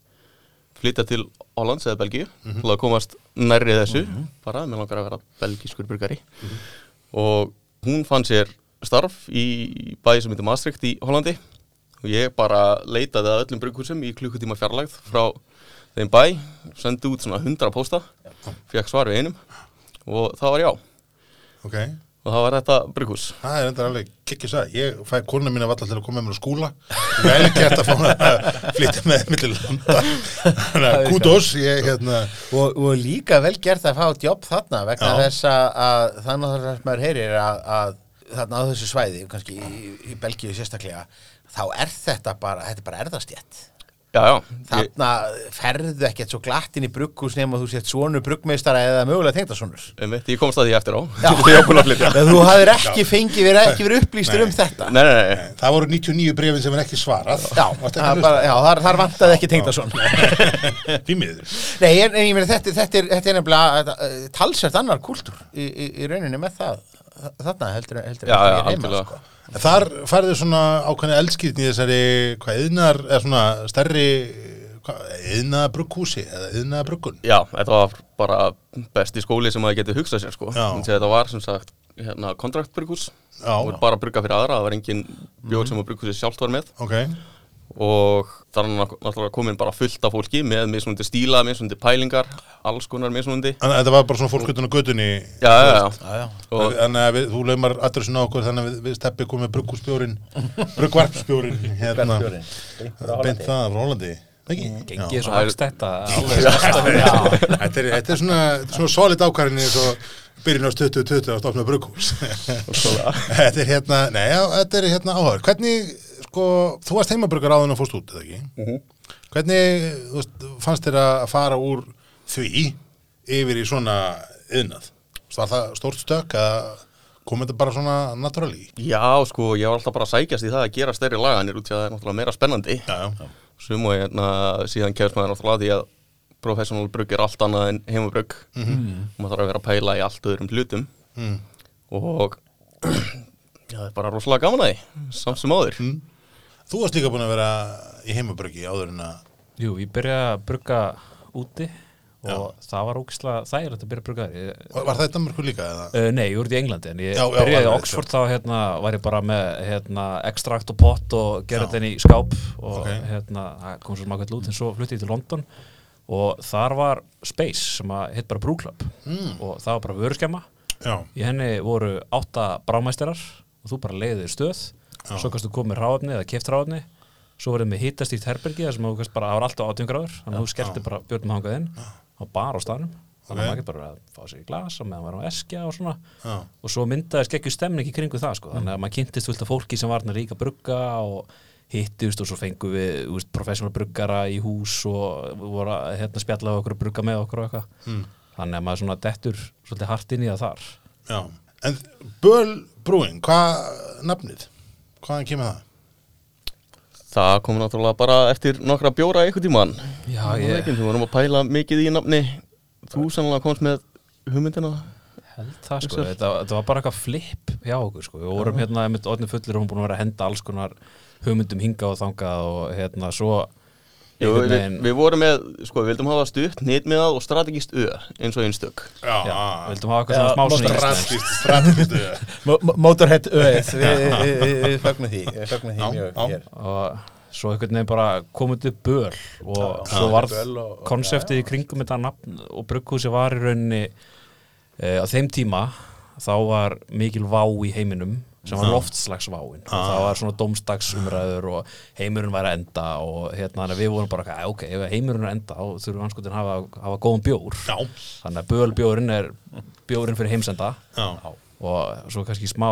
Speaker 3: flytja til Hollands eða Belgíu til að komast nærri þessu bara, mér langar að vera belgískur burgari og hún fann sér starf í bæði sem heitir Maastricht í Hollandi og ég bara leitaði að öllum brughúsum í klukkutíma fjarlægð frá þeim bæ, sendi út svona 100 pósta, fekk svar við einum og það var já
Speaker 1: ok
Speaker 3: og það var þetta brughús
Speaker 1: Það er enda alveg kikkis að Ég fæ konuna mín að valla til að koma með mér á skúla Vel gert að fá hana að flytja með millir landa Þannig að Kudos, ég hérna
Speaker 2: og, og líka vel gert að fá jobb þarna vegna
Speaker 1: Já.
Speaker 2: þess að, að þannig að þess maður heyrir að, að þarna á þessu svæði, kannski í, í Belgíu sérstaklega, þá er þetta bara, þetta er bara erðastjætt.
Speaker 3: já, já, ég,
Speaker 2: Þarna ferðu ekkert svo glatt inn í brugghús nema þú sétt svonu bruggmeistara eða mögulega tengdasonur.
Speaker 3: Einmitt, ég komst að því eftir á
Speaker 2: Já.
Speaker 3: Þegar ég var búin að flytja
Speaker 2: Þú hafðir ekki fengið, verið ekki verið upplýstur
Speaker 1: Nei.
Speaker 2: um þetta.
Speaker 3: Nei, nei, nei,
Speaker 1: Það voru 99 brefin sem er ekki svarað
Speaker 2: Já,
Speaker 1: Varstu
Speaker 2: það
Speaker 1: ekki
Speaker 2: er bara, já þar, þar vantaði ekki tengdason.
Speaker 1: að Tímiður
Speaker 2: Nei, en, en ég meina þetta, þetta, er, þetta er nefnilega þetta, eh, talsvert annar kultúr í, í, í rauninni með það þarna heldur, heldur heldur
Speaker 3: Já, já,
Speaker 2: en heima, sko.
Speaker 3: algjörlega.
Speaker 1: Þar færðu svona ákveðni eldskýrn í þessari hvað yðnar, eða svona stærri yðna brugghúsi eða yðna bruggun
Speaker 3: já, þetta var bara besti skóli sem maður geti hugsað sér sko
Speaker 1: Já.
Speaker 3: Þannig að Þetta var sem sagt hérna, kontraktbrukus
Speaker 1: Já.
Speaker 3: og bara að brugga fyrir aðra, það var engin bjór sem að brukusið sjálft var með
Speaker 1: Ok,
Speaker 3: og þar er náttú- náttúrulega komin bara fullt af fólki með mismunandi stíla, mismunandi pælingar alls konar mismunandi
Speaker 1: þannig að þetta var bara svona fólk utan á götunni
Speaker 3: Já, já, já,
Speaker 2: Já, já.
Speaker 3: og
Speaker 1: Þannig að við, þú laumar adressinu á okkur þannig að við, við steppi komum með brugghúsbjórin bruggvarpsbjórin hérna,
Speaker 2: Bjórinn.
Speaker 1: beint það frá Hollandi Mm. Ekki?
Speaker 4: gengið
Speaker 1: Mhm. Já.
Speaker 4: svo
Speaker 3: Það er-
Speaker 4: hagst þetta
Speaker 1: Þetta er, þetta er svona, þetta er svona solid ákvarðin eins og byrjun á 2020 að stofna brugghús Þetta er hérna, nei, já, þetta er hérna áhör Hvernig, sko, þú varst heimabruggar áðun og fórst út, eða ekki? Hvernig, þú veist, fannst þér að fara úr því yfir í svona yðnað? Var það stórt stök að kom þetta bara svona naturally?
Speaker 3: já, sko, ég var alltaf bara að sækjast í það að gera stærri laganir út í að það er náttúrulega meira spennandi
Speaker 1: Já, já,
Speaker 3: sum og hérna síðan kemst maður náttúrulega að því að professional brugg er allt annað en heimabrugg
Speaker 4: Mhm.
Speaker 3: og maður þarf að vera að pæla í allt öðrum hlutum
Speaker 1: Mm.
Speaker 3: og já, það er bara rosalega gaman að því samt sem áður
Speaker 4: Mm.
Speaker 1: Þú varst líka búin að vera í heimabruggi áður en að
Speaker 4: Jú, ég byrjaði að brugga úti og það var ógislega þægilegt að byrja að brugga þar Ég-
Speaker 1: Var var það í Danmarku líka eða?
Speaker 4: Uh, nei, ég voru í Englandi en ég
Speaker 1: Já, já,
Speaker 4: byrjaði í
Speaker 1: alveg,
Speaker 4: Oxford þá hérna, var ég bara með hérna, extrakt og pott og gerði þetta inn í skáp og
Speaker 1: Ok.
Speaker 4: hérna, það kom svo smakað lút en svo flutti ég til London og þar var Space sem að hitt bara Brúklub
Speaker 1: Hmm.
Speaker 4: mm. og það var bara vöruskemma
Speaker 1: Já,
Speaker 4: í henni voru átta brámæsterar og þú bara leiði þér stöð
Speaker 1: Já.
Speaker 4: svo kannst þú komið ráfni eða keft ráfni svo voruð með hittastýrt herbergi þar sem þú kannst bara, það var alltaf 18 gráður þannig að þú skellti bara björnum hangað inn og bara á staðnum þannig að
Speaker 1: Ok.
Speaker 4: maður getur bara að fá sér í glasa meðan maður er á eskja og svona
Speaker 1: já, Mm.
Speaker 4: og svo myndaðist ekki stemning í kringu það sko. þannig að maður kynntist fullt af fólki sem var þarna líka að brugga og hittust og svo fengum við úst, professional bruggara í hús og voru að hérna, spjalla á okkur og brugga með okkur og eitthvað
Speaker 1: Mm.
Speaker 4: þannig að maður svona dettur svolítið hart inn í það þar
Speaker 1: já En Böl Brúin, hvað nafnið? Hvaðan kemur það?
Speaker 3: það kom náttúrulega bara eftir nokkra bjóra einhvern tímann
Speaker 4: Já,
Speaker 3: Það var
Speaker 4: ég-
Speaker 3: ekki, þú vorum að pæla mikið í nafni þú sannlega komst með hugmyndina
Speaker 4: held það sko, þetta, þetta var bara eitthvað flip hjá okkur sko, við vorum hérna einmitt orðin fullir og hún búin að vera að henda alls konar hugmyndum hingað og þangað og hérna svo
Speaker 3: Jú,
Speaker 4: einhvern
Speaker 3: við,
Speaker 4: veginn-
Speaker 3: við vorum með, sko, við vildum hafa stutt nýtmiðað og strategist öð eins og einstök
Speaker 1: Já,
Speaker 4: já,
Speaker 1: Ah. já.
Speaker 4: vildum hafa eitthvað svona smá sko. svona
Speaker 1: Strategist,
Speaker 4: íslenskt.
Speaker 1: strategist öð.
Speaker 2: Mo- mo- Motorhead öðið, við, við, við, við fögnum því, við fögnum því
Speaker 1: Já,
Speaker 2: mjög
Speaker 1: já.
Speaker 2: hér.
Speaker 4: og svo einhvern veginn bara komið upp böl og svo varð konseptið í kringum þetta nafn og brugghúsi var í rauninni e, á þeim tíma þá var mikil vá í heiminum sem var loftslagsváin og það var svona domstagsumræður og heimurinn væri að enda og hérna þannig að við vorum bara "Æ, ok, ef heimurinn er að enda þá þurfum við anskotin að hafa, hafa góðan bjór
Speaker 1: Já.
Speaker 4: þannig að bölbjórinn er bjórinn fyrir heimsenda
Speaker 1: Já.
Speaker 4: og svo kannski smá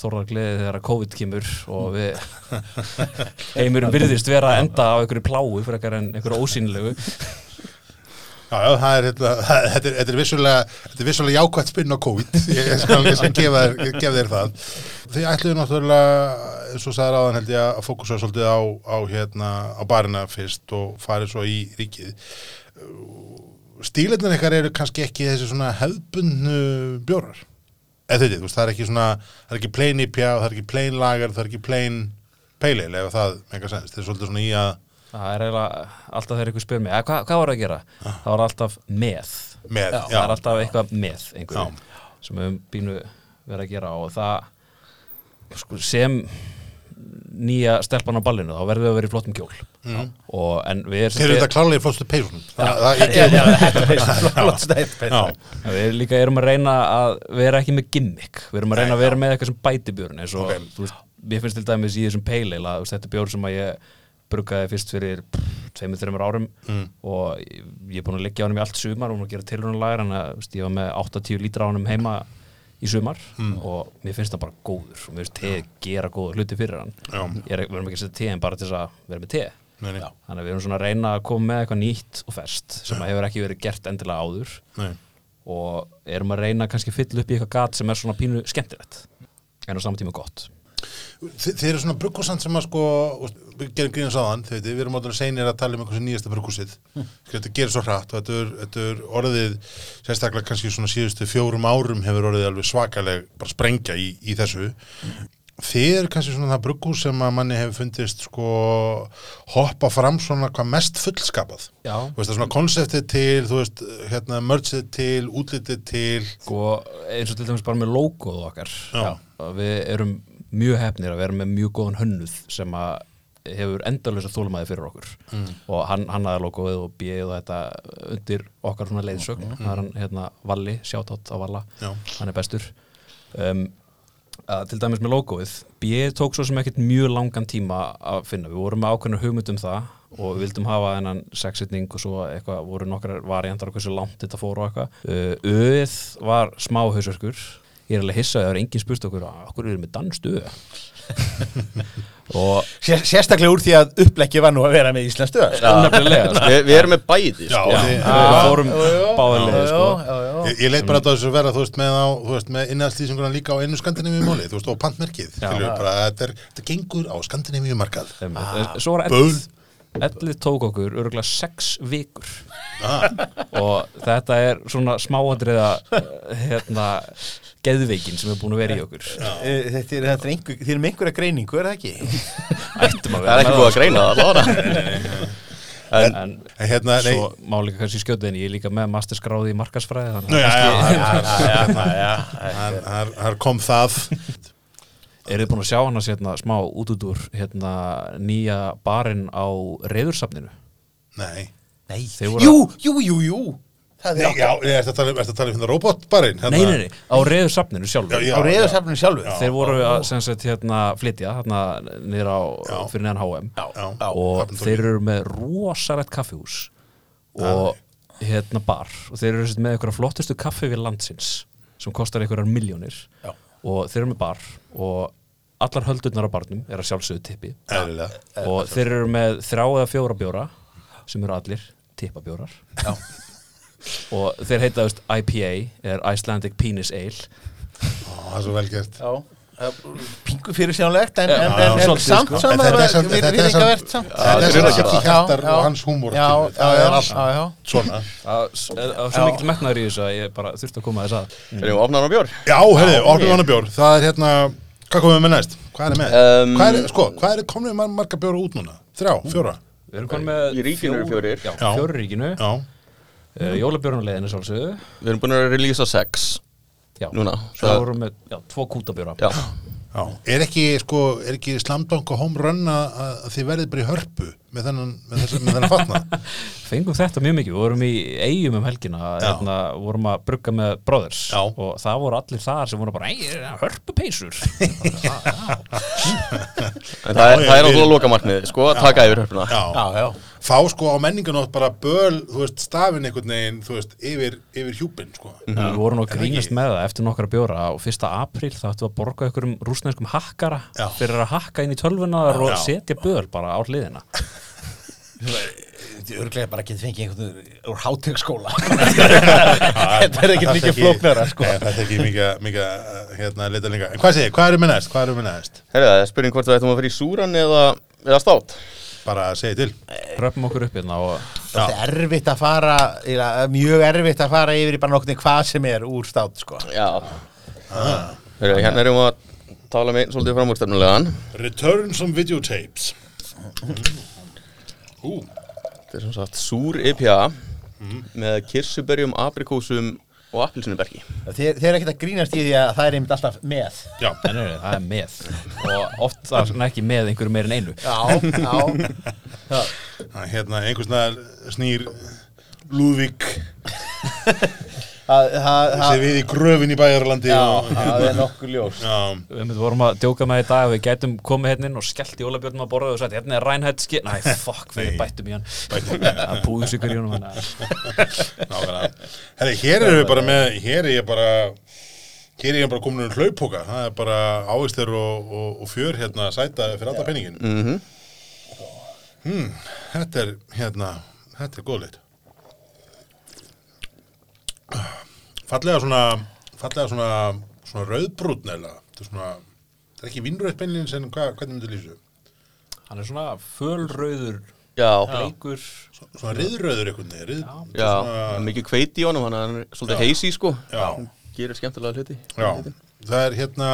Speaker 4: þorðar gleði þegar að COVID kemur og við heimurinn virðist vera að enda á einhverju pláu fyrir ekkar en einhverju ósýnilegu
Speaker 1: Já, já, það er, hérna, það- þetta er, þetta er vissulega, þetta er vissulega jákvæmt spinn á COVID, ég ég skal, ég skal gefa, þér, gefa þér það. Þið ætluðu náttúrulega, eins og sagði ráðan held ég að fókusa svolítið á, á, hérna, á barina fyrst og farið svo í ríkið. Stílarnir ykkar eru kannski ekki þessi svona hefðbundnu bjórar, eða þetta, þú veist, það er ekki svona, það er ekki plain IPA, það er ekki plain lager, það er ekki plain peileil, ef það meika sens, þetta er svolítið svona í að
Speaker 4: það er eiginlega alltaf þegar einhver spyr mig "Að, hvað, hvað var að gera? það var alltaf með
Speaker 1: Ah. með, já,
Speaker 4: það er alltaf eitthvað með einhverju
Speaker 1: Já.
Speaker 4: sem við höfum bínu verið að gera og það sko, sem nýja stelpan á ballinu þá verðum við að vera í flottum kjól mm. og, en við erum
Speaker 1: Þeir eru þetta klárlega í flóttu peysunum. Það, það, ég,
Speaker 2: Já, þetta er flott stætt
Speaker 1: Já,
Speaker 4: En Við líka erum að reyna að vera ekki með gimmick Við erum að reyna að vera með eitthvað sem bæti björn eins og, þú veist, mér finnst til dæmis í þessum peil eila, þetta er björn sem að ég bruggaði fyrst fyrir tveimur, þreimur árum
Speaker 1: Mm.
Speaker 4: og ég ég er búin að liggja á hann í allt sumar og búin að gera tilrunalagar en að þú veist, ég var með 8-10 lítra á hann heima í sumar
Speaker 1: Mm.
Speaker 4: og mér finnst það bara góður og mér finnst teð gera góða hluti fyrir hann
Speaker 1: Já.
Speaker 4: Ég er, Við erum ekki að setja teðin bara til þess að vera með teð
Speaker 1: nei, nei,
Speaker 4: Þannig að við erum svona að reyna að koma með eitthvað nýtt og fest sem að hefur ekki verið gert endilega áður
Speaker 1: nei.
Speaker 4: og erum að reyna kannski að fylla upp í eitthvað gat sem er svona pínu skemmtilegt en á saman tíma gott
Speaker 1: Þi, þið eru svona brukkúsand sem að sko, og við gerum grínast á þann, þið veitir, við erum áttúrulega seinir að tala um eitthvað sem nýjasta brukkúsið. Mm. Þetta gerir svo hratt og þetta er, þetta er orðið, sérstaklega kannski svona síðustu fjórum árum hefur orðið alveg svakaleg bara sprengja í, í þessu. Þið eru kannski svona það brukkús sem að manni hefur fundist sko hoppa fram svona hvað mest fullskapað.
Speaker 4: Já.
Speaker 1: Þú veist það er svona konseptið til, þú veist, hérna, mörgsið til, útlitið til.
Speaker 4: og Sko, eins og til dæmis bara með logoð okkar
Speaker 1: Já.
Speaker 4: að við erum mjög hefnir að vera með mjög góðan hönnuð sem að hefur endalösa þólmaði fyrir okkur
Speaker 1: Mm.
Speaker 4: og hann, hann aðeins logoðið og bjöðið þetta undir okkar svona leiðsögn það er hann hérna Valli, sjátátt á Valla
Speaker 1: Já.
Speaker 4: hann er bestur um, að, til dæmis með logoið B tók svo sem ekkert mjög langan tíma að finna, við vorum með ákveðnu hugmynd um það og við vildum hafa þennan sexitning og svo eitthvað voru nokkrar variantar og hversu langt þetta fór og eitthvað Uh, Öð var smá hausverkur ég er alveg hissað að það er enginn spurt okkur að okkur erum við danstu og
Speaker 2: Sérstaklega úr því að uppleggi var nú að vera með Íslands stöð
Speaker 4: nefnilega sko.
Speaker 3: Við, við erum með bæði sko.
Speaker 1: Já.
Speaker 4: við fórum báðilega sko.
Speaker 2: sko
Speaker 1: Ég, ég leit bara að það sem verða, þú veist, með, á, þú veist, með innastýsinguna líka á einu skandinavíu móli, þú veist, og pantmerkið, skilur, bara, þetta, er, þetta gengur á skandinavíu markað.
Speaker 4: ah, Svo var ellið Ellið tók okkur örgulega sex vikur
Speaker 1: Ah.
Speaker 4: og þetta er svona smáandriða eh, hérna geðveikin sem er búin að vera í okkur
Speaker 2: Eh, Þetta er, þetta er einhver, þið erum einhverja greiningu, er það ekki?
Speaker 4: Ættum að
Speaker 3: Það er
Speaker 4: vera
Speaker 3: ekki
Speaker 4: með sko.
Speaker 3: búið að greina það allavega.
Speaker 4: það en
Speaker 1: En hérna, nei,
Speaker 4: svo má líka kannski skjóta en ég er líka með masterskráði í markasfræði þannig
Speaker 1: Nú, já, já, já,
Speaker 2: Þetta
Speaker 1: hann- hann- hann kom það.
Speaker 4: Eru þið búin að sjá hann að hérna, smá út út úr hérna, nýja barinn á reyðursafninu?
Speaker 1: Nei.
Speaker 2: Nei,
Speaker 4: Þeir voru að-
Speaker 2: jú, jú, jú, jú Það
Speaker 1: Já,
Speaker 2: er
Speaker 1: já, er þetta að tala um, er þetta að tala um hérna robotbarinn? Hérna?
Speaker 4: Nei, nei, nei, á reyðursafninu sjálfur
Speaker 1: Já, já,
Speaker 2: á reyðarsafninu sjálfu
Speaker 4: Þeir voru að sem sagt hérna flytja hérna niður á
Speaker 1: Já.
Speaker 4: fyrir neðan HM
Speaker 1: Já,
Speaker 4: og
Speaker 1: Hafnartorgi.
Speaker 4: þeir eru með rosalegt kaffihús og hérna bar og þeir eru sem sagt með einhverja flottustu kaffi við landsins sem kostar einhverjar miljónir
Speaker 2: Já.
Speaker 4: og þeir eru með bar og allar höldurnar á barnum er að sjálfsögðu tippi
Speaker 1: Eðlilega.
Speaker 4: og þeir eru með þrá eða fjóra bjóra sem eru allir tippabjórar og þeir heita þú veist, IPA er Icelandic Penis Ale
Speaker 1: Ó, Það er svo velgert.
Speaker 2: Já, það er pingu fyrir sjánlegt en, en,
Speaker 4: Já,
Speaker 2: en, en
Speaker 4: svolítið,
Speaker 2: samt
Speaker 4: sko.
Speaker 1: En
Speaker 2: samt
Speaker 1: þetta er
Speaker 2: að
Speaker 1: samt-
Speaker 2: við
Speaker 1: þetta
Speaker 2: erum
Speaker 1: er
Speaker 2: ekki
Speaker 1: samt-
Speaker 2: að verð samt
Speaker 1: Það er
Speaker 3: þetta er
Speaker 1: svo
Speaker 3: ekki
Speaker 1: ekki hjartar og hans húmor.
Speaker 2: Já,
Speaker 1: skilur.
Speaker 2: já,
Speaker 1: Það
Speaker 2: já,
Speaker 1: er
Speaker 2: já, já.
Speaker 1: allt svona.
Speaker 4: Það er það er svo mikill metnaður í þessu að ég bara þurfti að koma þess að
Speaker 3: Erum við opnaðan á bjór?
Speaker 1: Já, heyrðu, opnum annar bjór. Það er hérna, hvað komum við með næst? Hvað er með?
Speaker 3: Um,
Speaker 1: hvað er, sko, hvað er, komum við mar- marga bjóra út núna? Þrjá, fjóra?
Speaker 4: Við erum konum með
Speaker 3: Í ríkinu eru
Speaker 4: fjór-
Speaker 3: fjórir.
Speaker 4: Já,
Speaker 1: Já.
Speaker 4: fjórir í ríkinu
Speaker 1: Já,
Speaker 4: uh, Jólabjörn á leiðinu sálsögðu
Speaker 3: Við erum búin að releasa sex
Speaker 4: Já,
Speaker 3: Núna,
Speaker 4: Svo
Speaker 3: það-
Speaker 4: vorum við, já, tvo kútabjóra
Speaker 3: Já
Speaker 1: Já. Er ekki, sko, er ekki slamdbank og home run að að þið verðið bara í hörpu með þennan, með þess, með þennan fatna?
Speaker 4: Fengum þetta mjög mikið, við vorum í eigum um helgina,
Speaker 1: Já.
Speaker 4: hérna, vorum að brugga með brothers
Speaker 1: Já.
Speaker 4: og það voru allir þar sem voru bara, ei, hörpupeysur
Speaker 1: Já, já,
Speaker 3: En það er, það er
Speaker 1: við-
Speaker 3: náttúrulega lokamarknið, sko, að taka yfir hörpuna.
Speaker 1: Já.
Speaker 2: já, já.
Speaker 1: Fá, sko, á menningunótt bara böl, þú veist, stafin einhvern veginn, þú veist, yfir, yfir hjúpin, sko.
Speaker 4: Við vorum að
Speaker 1: Er það
Speaker 4: grínast
Speaker 1: ekki?
Speaker 4: með það eftir nokkra bjóra og fyrsta apríl þá ættum við að borga ykkur um rúsnæskum hakkara
Speaker 1: Já.
Speaker 4: fyrir að hakka inn í tölvunar og
Speaker 1: Já.
Speaker 4: setja böl bara á hliðina
Speaker 2: Þið örglega bara getið fengið einhvern úr- úr hátegskóla Þetta er ekkert mikið flóknara sko.
Speaker 1: Nei, það er ekki mikið, mikið, hérna, leita lengra. En hvað segir, hvað erum við næst, hvað erum við næst?
Speaker 3: Herðu, það er spurning hvort við ættum að fara í súran eða, eða stát.
Speaker 1: Bara að segja til.
Speaker 4: Röpum okkur upp hérna og
Speaker 2: Þetta er erfitt að fara eiginlega mjög erfitt að fara yfir í bara nokkni hvað sem er úr stát sko.
Speaker 3: Já. Herðu, hérna erum við að tala með einn svolítið framúrstefnulegan.
Speaker 1: Return some videotapes. Ú,
Speaker 3: Þetta er sem sagt súr IPA
Speaker 1: Mhm.
Speaker 3: með kirsuberjum, aprikósum og appilsinubergi.
Speaker 2: Þeir, þeir eru ekkert að grínast í því að það er einmitt alltaf með
Speaker 1: já.
Speaker 4: en er, það er með og oft það er ekki með einhverju meir en einu
Speaker 2: Já, já, já.
Speaker 1: Það er Hérna, einhvers naðar snýr Lúðvík
Speaker 2: Það, það,
Speaker 1: sem
Speaker 2: það,
Speaker 1: við í gröfin í bæjarlandi
Speaker 2: já,
Speaker 1: og,
Speaker 2: það er nokkuð ljós
Speaker 1: já,
Speaker 4: Við einmitt vorum að djóka með í dag að við gætum komið hérna inn og skellt jólabjörnum að borða og sagt hérna er rænhætt skil Næ, fokk, við
Speaker 1: Nei.
Speaker 4: bættum í hann Það búið sigur í honum hann
Speaker 1: nákvæmlega. Herri, hér erum við bara með, hér er ég bara, hér er ég bara komin um hlaupóka, það er bara ávistir og, og, og fjör hérna sæta fyrir alltaf penningin. Mm -hmm. þetta er, hérna, þetta er góðleitt. Fallega svona, fallega svona, svona rauðbrútn eða, þetta er svona, þetta er ekki vinnröð beinlinn sem hva, hvernig myndir lýsu?
Speaker 4: Hann er svona fölröður,
Speaker 3: Já,
Speaker 4: bleikur
Speaker 1: Svona riðröður einhvern veginn, rið,
Speaker 3: já, það er mikið kveiti í honum, hann er svolítið heisi, sko.
Speaker 1: já.
Speaker 3: Gerir skemmtilega hluti.
Speaker 1: Já, það er hérna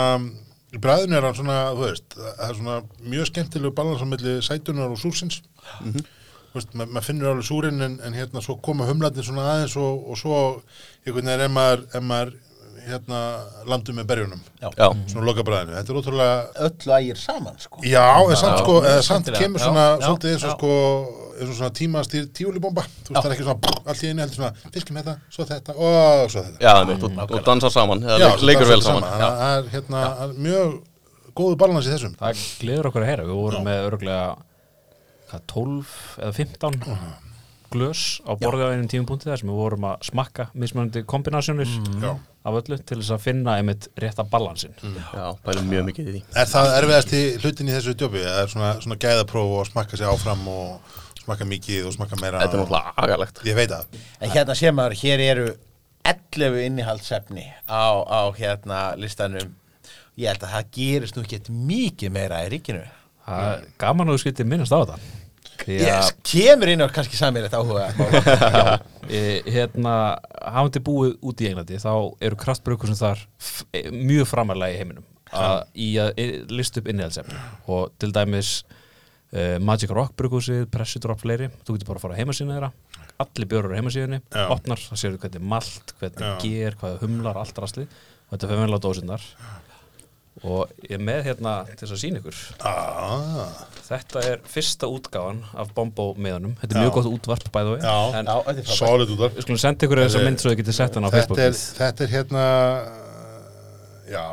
Speaker 1: í bræðinu er hann svona, þú veist það er svona mjög skemmtilegu balans á milli sætunar og súrsins
Speaker 4: Mhm.
Speaker 1: þú veist, ma maður finnur alveg súrin en, en hérna svo koma humlarnir svona aðeins og, og svo einhvern veginn er maður, ef maður hérna landum með berjunum
Speaker 3: Já,
Speaker 1: svona loka bræðinu, þetta er ótrúlega
Speaker 2: Öllu ægir saman sko.
Speaker 1: Já, en samt
Speaker 4: Já,
Speaker 1: sko, eða
Speaker 4: skemmtilega.
Speaker 1: samt kemur
Speaker 4: Já,
Speaker 1: svona
Speaker 4: já,
Speaker 1: svolítið eins og
Speaker 4: já.
Speaker 1: sko eins og svona tímastýr tíulibomba þú veist, það er ekki svona brr, allt í einu heldur svona fiskum þetta, svo þetta og svo þetta
Speaker 3: já, einmitt, og, og dansar saman, eða
Speaker 1: Já,
Speaker 3: leik, leikur
Speaker 1: það er
Speaker 3: vel saman.
Speaker 1: þannig að það er hérna það er mjög góðu balans í þessum
Speaker 4: Það gleður okkur að heyra, við vorum með örglega hvað, 12 eða 15 glös á borðið á einum tímupunkti þar sem við vorum að smakka mismunandi kombinásjónir
Speaker 1: Já.
Speaker 4: af öllu til þess að finna einmitt rétta balansin
Speaker 3: Já, pælum mjög mikið í því.
Speaker 1: Er það erfiðasti hlutin í þessu djópi? Það er svona, svona gæðapróf og smakka sér áfram og smakka mikið og smakka meira
Speaker 3: Þetta er náttúrulega agalegt.
Speaker 1: Ég veit að
Speaker 2: En hérna sé maður, hér eru 11 innihaldsefni á, á hérna listanum Ég held að það gerist nú ekki mikið meira í ríkinu
Speaker 4: Það er gaman að þú skildir minnast á þetta Því
Speaker 2: Ég
Speaker 4: að
Speaker 2: kemur inn á kannski samir þetta áhuga
Speaker 4: Já, e, hérna hafandi búið út í Englandi þá eru kraftbraukur sem þar f- e, mjög framarlega í heiminum að, í að e, list upp innihaldsefni og til dæmis e, Magic Rock brugghúsið, Pressudrop fleiri þú getur bara að fara á heimasíðinu þeirra allir björur á heimasíðinu,
Speaker 1: Já.
Speaker 4: opnar það séu hvernig malt,
Speaker 1: Já.
Speaker 4: hvernig ger, hvað humlar allt rastlið og þetta er femminlega dósinnar og ég er með hérna til þess að sína ykkur
Speaker 1: ah,
Speaker 4: þetta er fyrsta útgáfan af Bombo meðanum, þetta er mjög gott útvarp bæðu
Speaker 1: Já.
Speaker 4: en
Speaker 2: Já, þetta er frábært
Speaker 1: Solid út af
Speaker 4: Við skulum senda ykkur þessa
Speaker 1: Þetta er-
Speaker 4: mynd svo þið getið sett hann á
Speaker 1: þetta, er-
Speaker 4: Facebookið.
Speaker 1: þetta er hérna uh, Já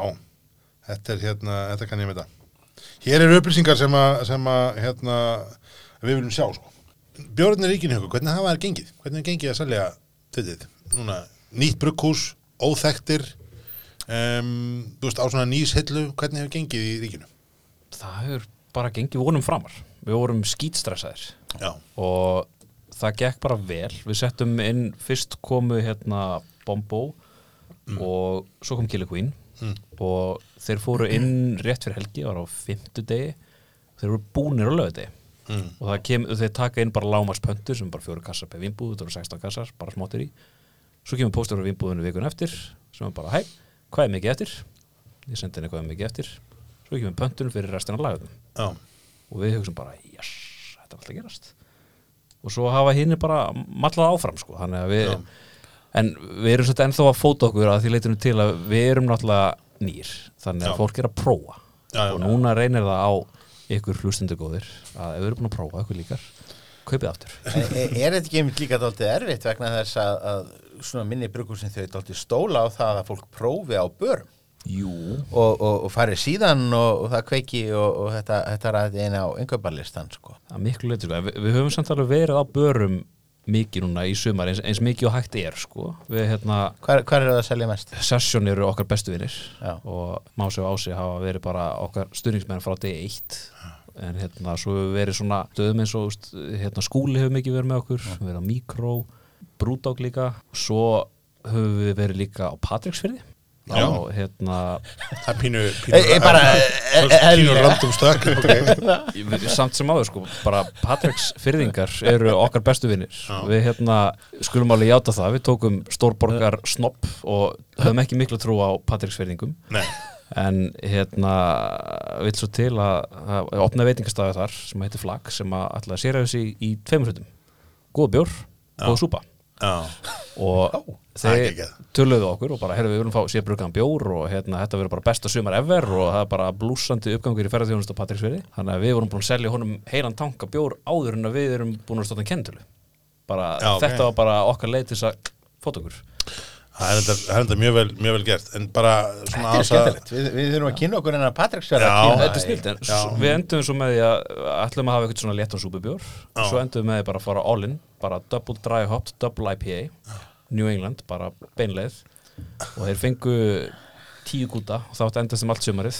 Speaker 1: Þetta er hérna, þetta kann ég með það Hér eru upplýsingar sem að, sem að hérna, við viljum sjá sko. Björnir ríkinu ykkur, hvernig hafa það gengið? Hvernig er gengið að selja þetta? Núna, nýtt brugghús, óþektir um, þú veist, á svona nýshillu hvernig hefur gengið í ríkinu?
Speaker 4: Það hefur bara gengið vonum framar. Við vorum skýtstressaðir
Speaker 1: Já,
Speaker 4: og það gekk bara vel. Við settum inn fyrst komu hérna Bombo og svo kom Killer Queen og þeir fóru inn rétt fyrir helgi, það var á fimmtudegi þeir voru búnir á lögudegi og það kem, þeir taka inn bara lámarspöntu sem er bara fjóru kassar per vinnbúð, þetta eru 16 kassar bara smáttir í, svo kemur póstur á vinnbúðinu vikun eftir, sem er bara hæ hvað er mikið eftir, ég sendi henni hvað er mikið eftir svo kemur pöntunum fyrir restina af lagunum
Speaker 1: já,
Speaker 4: og við hugsaum bara, jess, þetta er alltaf gerast og svo hafa hinn bara mallað áfram sko, þannig að við en við erum svolítið ennþá að fóta okkur að því leitinu til að við erum náttúrulega nýr, þannig að
Speaker 1: Já.
Speaker 4: fólk er að prófa
Speaker 1: Já, já.
Speaker 4: og núna reynir það á ykkur hlustundu góðir að ef við erum búin að prófa ykkur líkar kaupið aftur
Speaker 2: En er E, er þetta ekki einmitt líka dálítið erfitt vegna þess að, að svona minni brukur sem þau dálítið stóla á það að fólk prófi á börum
Speaker 4: Jú,
Speaker 2: og, og, og fari síðan og, og það kveiki og, og þetta, þetta ræði eina á yngöparlistan sko.
Speaker 4: að miklu leitur sko. En við, við höfum samt alveg verið á börum mikið núna í sumar eins, eins mikið og hægt er sko. við hérna
Speaker 2: Hvar, hvar er það að selja mest?
Speaker 4: Session eru okkar bestu vinnir
Speaker 2: Já.
Speaker 4: og Mási og Ási hafa verið bara okkar stuðningsmenn frá degi eitt en hérna svo hefur verið svona stöðum eins og þú veist, hérna, skúli hefur mikið verið með okkur við verið á Mikró, Brúdók líka og svo höfum við verið líka á Patricksfyrði
Speaker 1: Já.
Speaker 4: og hérna
Speaker 1: Það er pínu, pínu,
Speaker 2: Ég- ég bara- e,
Speaker 1: eh, pínu
Speaker 2: eðlilega.
Speaker 1: random stökk okay.
Speaker 4: við- samt sem áður sko bara Patricksfyrðingar eru okkar bestu vinnir við hérna skulum alveg játa það við tókum stórborgar snopp og höfum ekki miklu trú á Patricksfyrðingum
Speaker 1: Nei,
Speaker 4: en hérna vill svo til að, að opna veitingastæði þar sem heitir Flag sem að ætla að séra þessi í, í tveimur hlutum góð bjór, góð súpa
Speaker 1: já,
Speaker 4: og
Speaker 1: það er
Speaker 4: þeir
Speaker 1: geggjað.
Speaker 4: töluðu við okkur og bara, heyrðu við viljum fá sér brukaðan bjór og hérna, þetta verður bara besta sumar ever og það er bara blúsandi uppgangur í ferðarþjónust á Patricksferi, þannig að við vorum búin að selja honum heilan tanka bjór áður en að við erum búin að stóta en kennitölu bara,
Speaker 1: Já, ok.
Speaker 4: þetta var bara okkar leið til þess að fóta okkur
Speaker 1: það er enda- það er enda mjög vel, mjög vel gert En bara svona
Speaker 2: Þetta er
Speaker 1: aðeins að
Speaker 2: skemmtilegt, við, við þurfum að kynna okkur en að Patrik sverða
Speaker 1: Já.
Speaker 2: að
Speaker 4: þetta
Speaker 2: kynna
Speaker 4: er snilt, en s- við endum svo með því að ætlum að hafa eitthvað svona léttan súpubjór svo endum við með því bara að fara all in bara double dry hop, double IPA New England, bara beinleið og þeir fengu tíu gúta og þá þetta endast um allt sumarið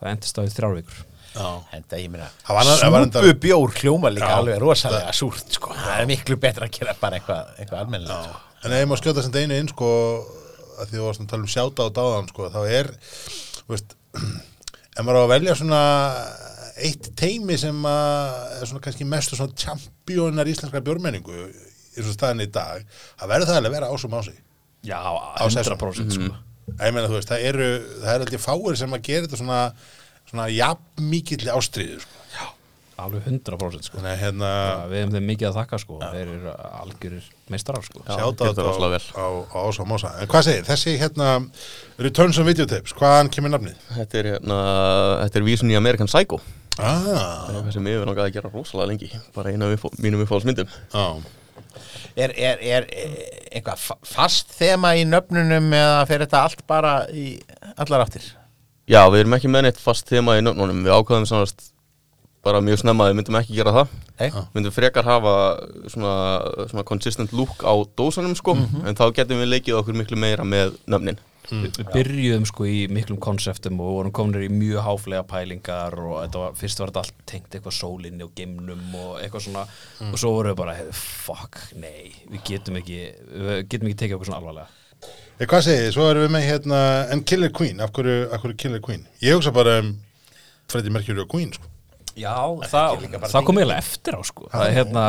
Speaker 4: það endast á því þrjár vikur
Speaker 1: já.
Speaker 2: Þetta ég meina
Speaker 1: Það var annað- það var enda-
Speaker 2: Súpubjór hljóma líka
Speaker 1: Já.
Speaker 2: alveg rosalega súrt sko. Það er miklu betra að gera bara eitthvað eitthva almennilega sko.
Speaker 1: En ef ég má skjóta sem einu inn sko, að því þú varst að tala um sjáta á dáðan sko, þá er þú veist, ef maður á að velja svona eitt teimi sem að er svona kannski mestu svona championar íslenskar björmenningu í svona staðin í dag það verður það alveg að vera ásum á sig
Speaker 4: já,
Speaker 1: session.
Speaker 4: 100% sko.
Speaker 1: ég meina þú veist, það eru það er aldrei fáir sem að gera þetta svona svona jafn mikill ástriður sko.
Speaker 4: alveg 100% sko.
Speaker 1: þannig að hérna
Speaker 4: Bara við hefum þeim mikið að þakka sko. þeir eru algjörir meistarar sko.
Speaker 3: Já.
Speaker 1: sjáta á,
Speaker 3: gerðu það
Speaker 1: á,
Speaker 3: rosalega vel.
Speaker 1: á, á ásum á sig en hvað segir, þessi hérna Returns on Videotapes, hvaðan kemur nafnið?
Speaker 3: Þetta er, hérna, þetta er vísun í American Psycho
Speaker 1: Ah,
Speaker 3: Það er eitthvað sem ég hefur langaði að gera rosalega lengi Bara eina af uppá- mínum uppáhalsmyndum
Speaker 1: á,
Speaker 2: er, er, er eh, eitthvað fa- fast þema í nöfnunum eða fer þetta allt bara í allar áttir?
Speaker 3: Já, við erum ekki með neitt fast tema í nöfnunum Við ákvaðum sannast bara mjög snemma að Við myndum ekki gera það
Speaker 2: Nei?
Speaker 3: Við myndum frekar hafa svona, svona consistent look á dósanum sko
Speaker 4: Mhm.
Speaker 3: En þá getum við leikið okkur miklu meira með nöfnin
Speaker 4: Við við byrjuðum sko í miklum konseptum og vorum kominir í mjög háflega pælingar og þetta var, fyrst var þetta allt tengt eitthvað sólinni og geimnum og eitthvað svona og svo vorum við bara, hey, fuck, nei, við getum ekki, við getum ekki tekið okkur svona alvarlega.
Speaker 1: Ég, hvað segið þið, svo erum við með hérna en Killer Queen, af hverju, af hverju Killer Queen? Ég hugsa bara um Freddie Mercury og Queen, sko.
Speaker 4: Já, það, það kom eiginlega eftir á sko það er hérna,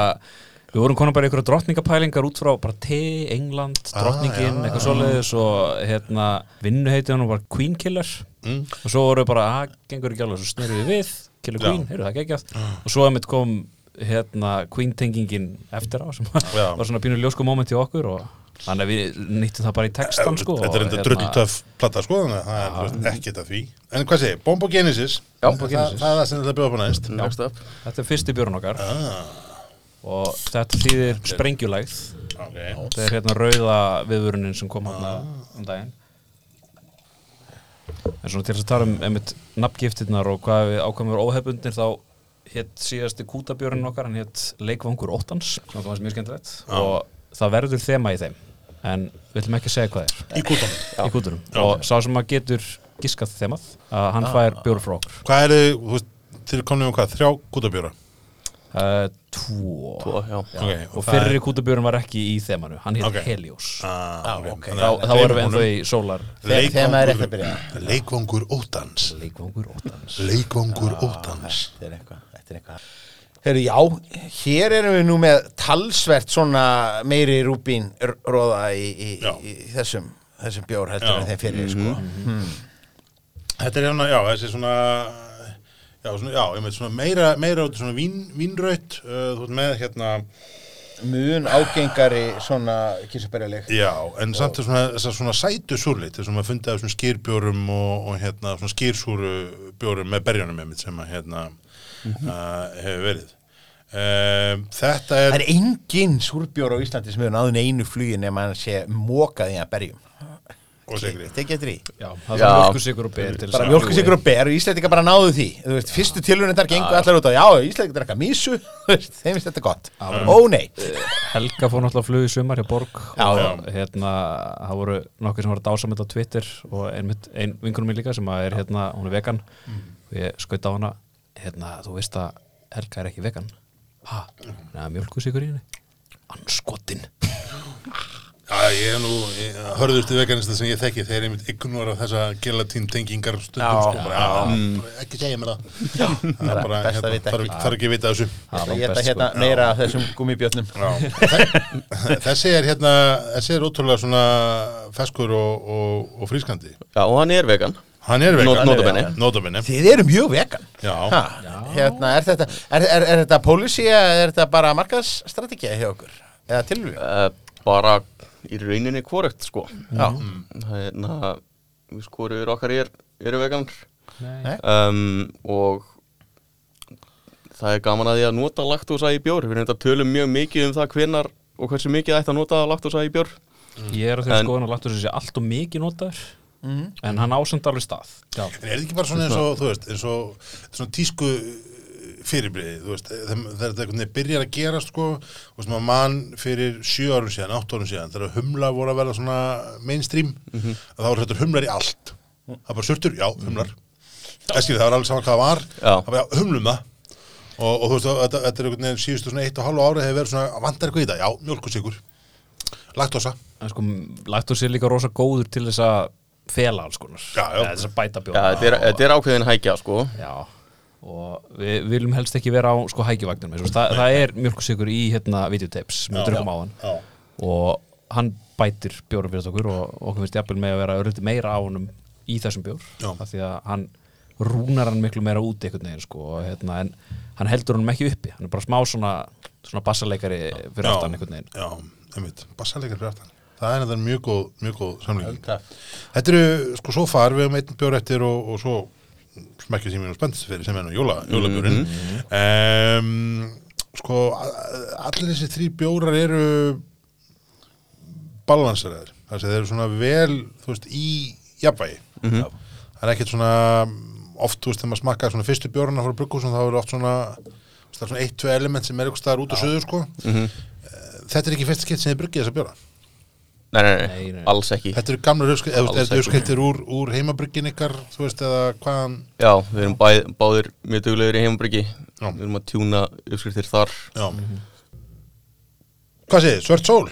Speaker 4: við vorum konar bara í einhverja drottningapælingar út frá bara T, England,
Speaker 1: Ah,
Speaker 4: drottningin, eitthvað svoleiðis og hérna, vinnuheitið hann var Queen Killer
Speaker 1: Mm.
Speaker 4: og svo voru við bara, að, gengur ekki alveg, svo snurðum við við Killer Queen, heyrðu það geggjað
Speaker 1: Ah.
Speaker 4: og svo emitt kom hérna Queen tengingin eftir á sem
Speaker 1: Já.
Speaker 4: var svona pínu ljósku moment í okkur og þannig að við nýttum það bara í textan sko
Speaker 1: Þetta er
Speaker 4: og,
Speaker 1: enda
Speaker 4: hérna,
Speaker 1: drullutöf platta, sko, þannig að það er þú veist, ekkert að því. En hvað segið, Bombo Genesis,
Speaker 3: Já,
Speaker 1: það, það, það er það sem þetta bjóða upp á næst.
Speaker 3: Next up
Speaker 4: Þetta er fyrsti björn okkar
Speaker 1: Ah.
Speaker 4: og þetta þýðir sprengjulægð
Speaker 1: Ok.
Speaker 4: Þetta er hérna rauða viðvörunin sem kom hann
Speaker 1: Ah.
Speaker 4: um daginn En svona til þess að tala um einmitt nafngiftirnar og hvað við ákvæmum við óhefbundnir þá hétt síðasti kútabjörnin okkar hann hétt leikvangur óttans sem var mjög skemmtilegt og það verður þema í þeim en við ætlum ekki að segja hvað það
Speaker 1: Í kútanum.
Speaker 4: er í kúturum og sá sem að getur giskað þemað að
Speaker 1: Ah.
Speaker 4: hann fær bjóru frá okkur
Speaker 1: Hvað eru, þú veist, þeir komnum um hvað, þrjá kútabjóra?
Speaker 4: uh, Tvo,
Speaker 3: Tvo, Sko, já.
Speaker 1: Ok,
Speaker 4: Og
Speaker 1: það
Speaker 4: fyrri kútabjörn var ekki í þemanu hann hétt
Speaker 1: Ok.
Speaker 4: Helios
Speaker 1: Ah,
Speaker 2: Já, ok.
Speaker 1: Þannig
Speaker 4: Þá,
Speaker 1: að
Speaker 4: þá erum við ennþá
Speaker 1: honum.
Speaker 4: í sólar
Speaker 1: Leikvangur-
Speaker 2: Þegar maður er rétt að byrja.
Speaker 1: Leikvangur óttans.
Speaker 4: Leikvangur óttans
Speaker 1: Leikvangur óttans.
Speaker 2: Þetta er eitthvað, þetta er eitthvað. Heru, já, hér erum við nú með talsvert svona meiri rúbín róða í, í,
Speaker 1: Já.
Speaker 2: í þessum, þessum bjór
Speaker 1: Já.
Speaker 2: heldur
Speaker 1: Mhm.
Speaker 2: en þeim fyrir sko.
Speaker 1: Þetta er hérna, já, þessi svona já, svona, já, ég veit svona meira, meira út í svona vín, vínraut uh, þú veit með hérna
Speaker 2: mun ágengari svona kísabærileg
Speaker 1: Já, en samt er svona, þessar svona sætu súrlit þessum að funda þessum skýrbjórum og, og hérna, svona skýrsúru bjórum með berjunum einmitt sem að hérna uh, hefur verið uh, Þetta er
Speaker 2: Það er engin súrbjór á Íslandi sem hefur náðun einu flugin nema hann sé mokað í að berjum
Speaker 1: og sigri
Speaker 2: Þetta getur í
Speaker 4: Já, það
Speaker 3: Já.
Speaker 4: er mjölkusikur og ber til þess
Speaker 2: bara
Speaker 4: að-
Speaker 2: mjölkusikur og ber og Íslandika bara náðu því þú veist, fyrstu tilhörnum þar gengur allar út á já, Íslandika drekka mísu, þú veist, þeim finnst þetta gott ó nei,
Speaker 4: Helga fór náttúrulega flug í sumar hjá Borg
Speaker 2: Já,
Speaker 4: og hérna, það voru nokkuð sem voru dásamönd á Twitter og ein, ein vinkunum mín líka sem að er hérna, hún er vegan
Speaker 2: Mhm.
Speaker 4: og ég skaut á hana hérna, þú veist að Helga er ekki vegan ha, neða mjölkusíkur í henni anskotin
Speaker 1: Já, ég er nú ég, hörðustu veganista sem ég þekki þeir einmitt ignora þessa gelatín tengingar stundum
Speaker 2: Já.
Speaker 1: sko bara, já, bara, ekki segja mér það það er bara,
Speaker 2: best að
Speaker 1: hérna,
Speaker 2: vita
Speaker 1: þarf,
Speaker 2: ekki.
Speaker 1: þarf ekki að vita þessu
Speaker 2: það geta hérna
Speaker 1: sko.
Speaker 2: meira af þessum gummibjötnum
Speaker 1: Þe- Þessi er hérna þessi er ótrúlega svona feskur og, og, og frískandi
Speaker 3: Já, og hann er vegan
Speaker 1: Hann er vegan
Speaker 3: Not- notabene.
Speaker 1: Notabene.
Speaker 2: þið eru mjög vegan
Speaker 1: Já.
Speaker 2: ha, hérna, er þetta, er, er, er þetta policy eða er þetta bara markaðsstrategía hjá okkur eða tilvíð
Speaker 3: Eh, Bara í rauninni hvoregt sko
Speaker 1: Mm.
Speaker 2: já,
Speaker 3: Hérna, við skorur okkar er, eru veganar
Speaker 2: Nei.
Speaker 3: um, Og það er gaman að því að nota laktósa í bjór Við reynda tölum mjög mikið um það hvenar og hversu mikið ætti að nota laktósa í bjór
Speaker 4: ég er á þegar
Speaker 3: En-
Speaker 4: skoðan að láttu þessi allt og mikið notaður
Speaker 2: Mhm.
Speaker 4: en hann ásend alveg stað já.
Speaker 1: En er þetta ekki bara svona eins og, þú veist, eins og þetta er svona tísku fyrirbriði, þú veist, þegar þegar þetta einhvern veginn byrjar að gera, sko, og sem að mann fyrir sjö árum síðan, átt árum síðan, þegar humla voru að verða svona mainstream, að þá eru þetta humlar í allt. Það er bara surtur, já, humlar. Það skilja, það var alveg saman hvað það var,
Speaker 3: Já.
Speaker 1: það var, Mhm. já, humlum það. Og, og þú veist, og þetta, þetta er einhvern veginn síðustu svona eitt og hálfu árið hefur verið svona, að vantar eitthvað í það, já, mjölkusíkur, laktosa,
Speaker 4: en sko, láttu sér líka rosa góður til þess að fela alls konar
Speaker 1: Já, já.
Speaker 4: Eða þess að bæta
Speaker 3: Já,
Speaker 4: bjóða
Speaker 3: þetta er, þetta er ákveðin hækja sko
Speaker 4: Já, og við viljum helst ekki vera á sko hækivagnum eins og það, það er mjölkusikur í hérna videotapes með drökkum á hann
Speaker 1: já.
Speaker 4: og hann bætir bjórum fyrir okkur og okkur finnst jafnvel með að vera örundi meira á honum í þessum bjór
Speaker 1: Já.
Speaker 4: af því að hann rúnar hann miklu meira út einhvern veginn sko og hérna en hann heldur honum ekki uppi, hann er bara smá svona svona bassaleikari fyrir aftan einhvern veginn
Speaker 1: Já, einmitt, bassalegar fyrir aftan Það er þetta mjög góð, mjög góð samlíking
Speaker 2: Öldra.
Speaker 1: Þetta eru, sko, svo far við um einn bjór eftir og, og svo smekkið sem ég er spenntist fyrir sem er nú jóla, jólabjörinn um, Sko, a- allir þessi þrý bjórar eru balanseraðir Þessi þeir eru svona vel, þú veist, í jafnvægi Það er ekkert svona oft, þú veist, þegar maður smakkaði svona fyrstu bjórana frá brugghúsum, þá eru oft svona það er svona eitt, tvö element sem er eitthvað staðar út og söður, sko Eh, þetta er ekki fyrsta skipt sem þið bruggið þessa bjóra
Speaker 3: Nei, nei, nei,
Speaker 4: Nei, nei.
Speaker 3: alls ekki
Speaker 1: þetta eru gamla
Speaker 3: Alls ekki.
Speaker 1: röfskettir úr, úr heimabruggin ykkar þú veist eða hvaðan
Speaker 3: Já, við erum bæ, báðir mjög duglegur í heimabryggi
Speaker 1: Já.
Speaker 3: Við erum að tjúna uppskriftir þar
Speaker 1: já
Speaker 3: Mhm.
Speaker 1: hvað segir, þið? svört sól,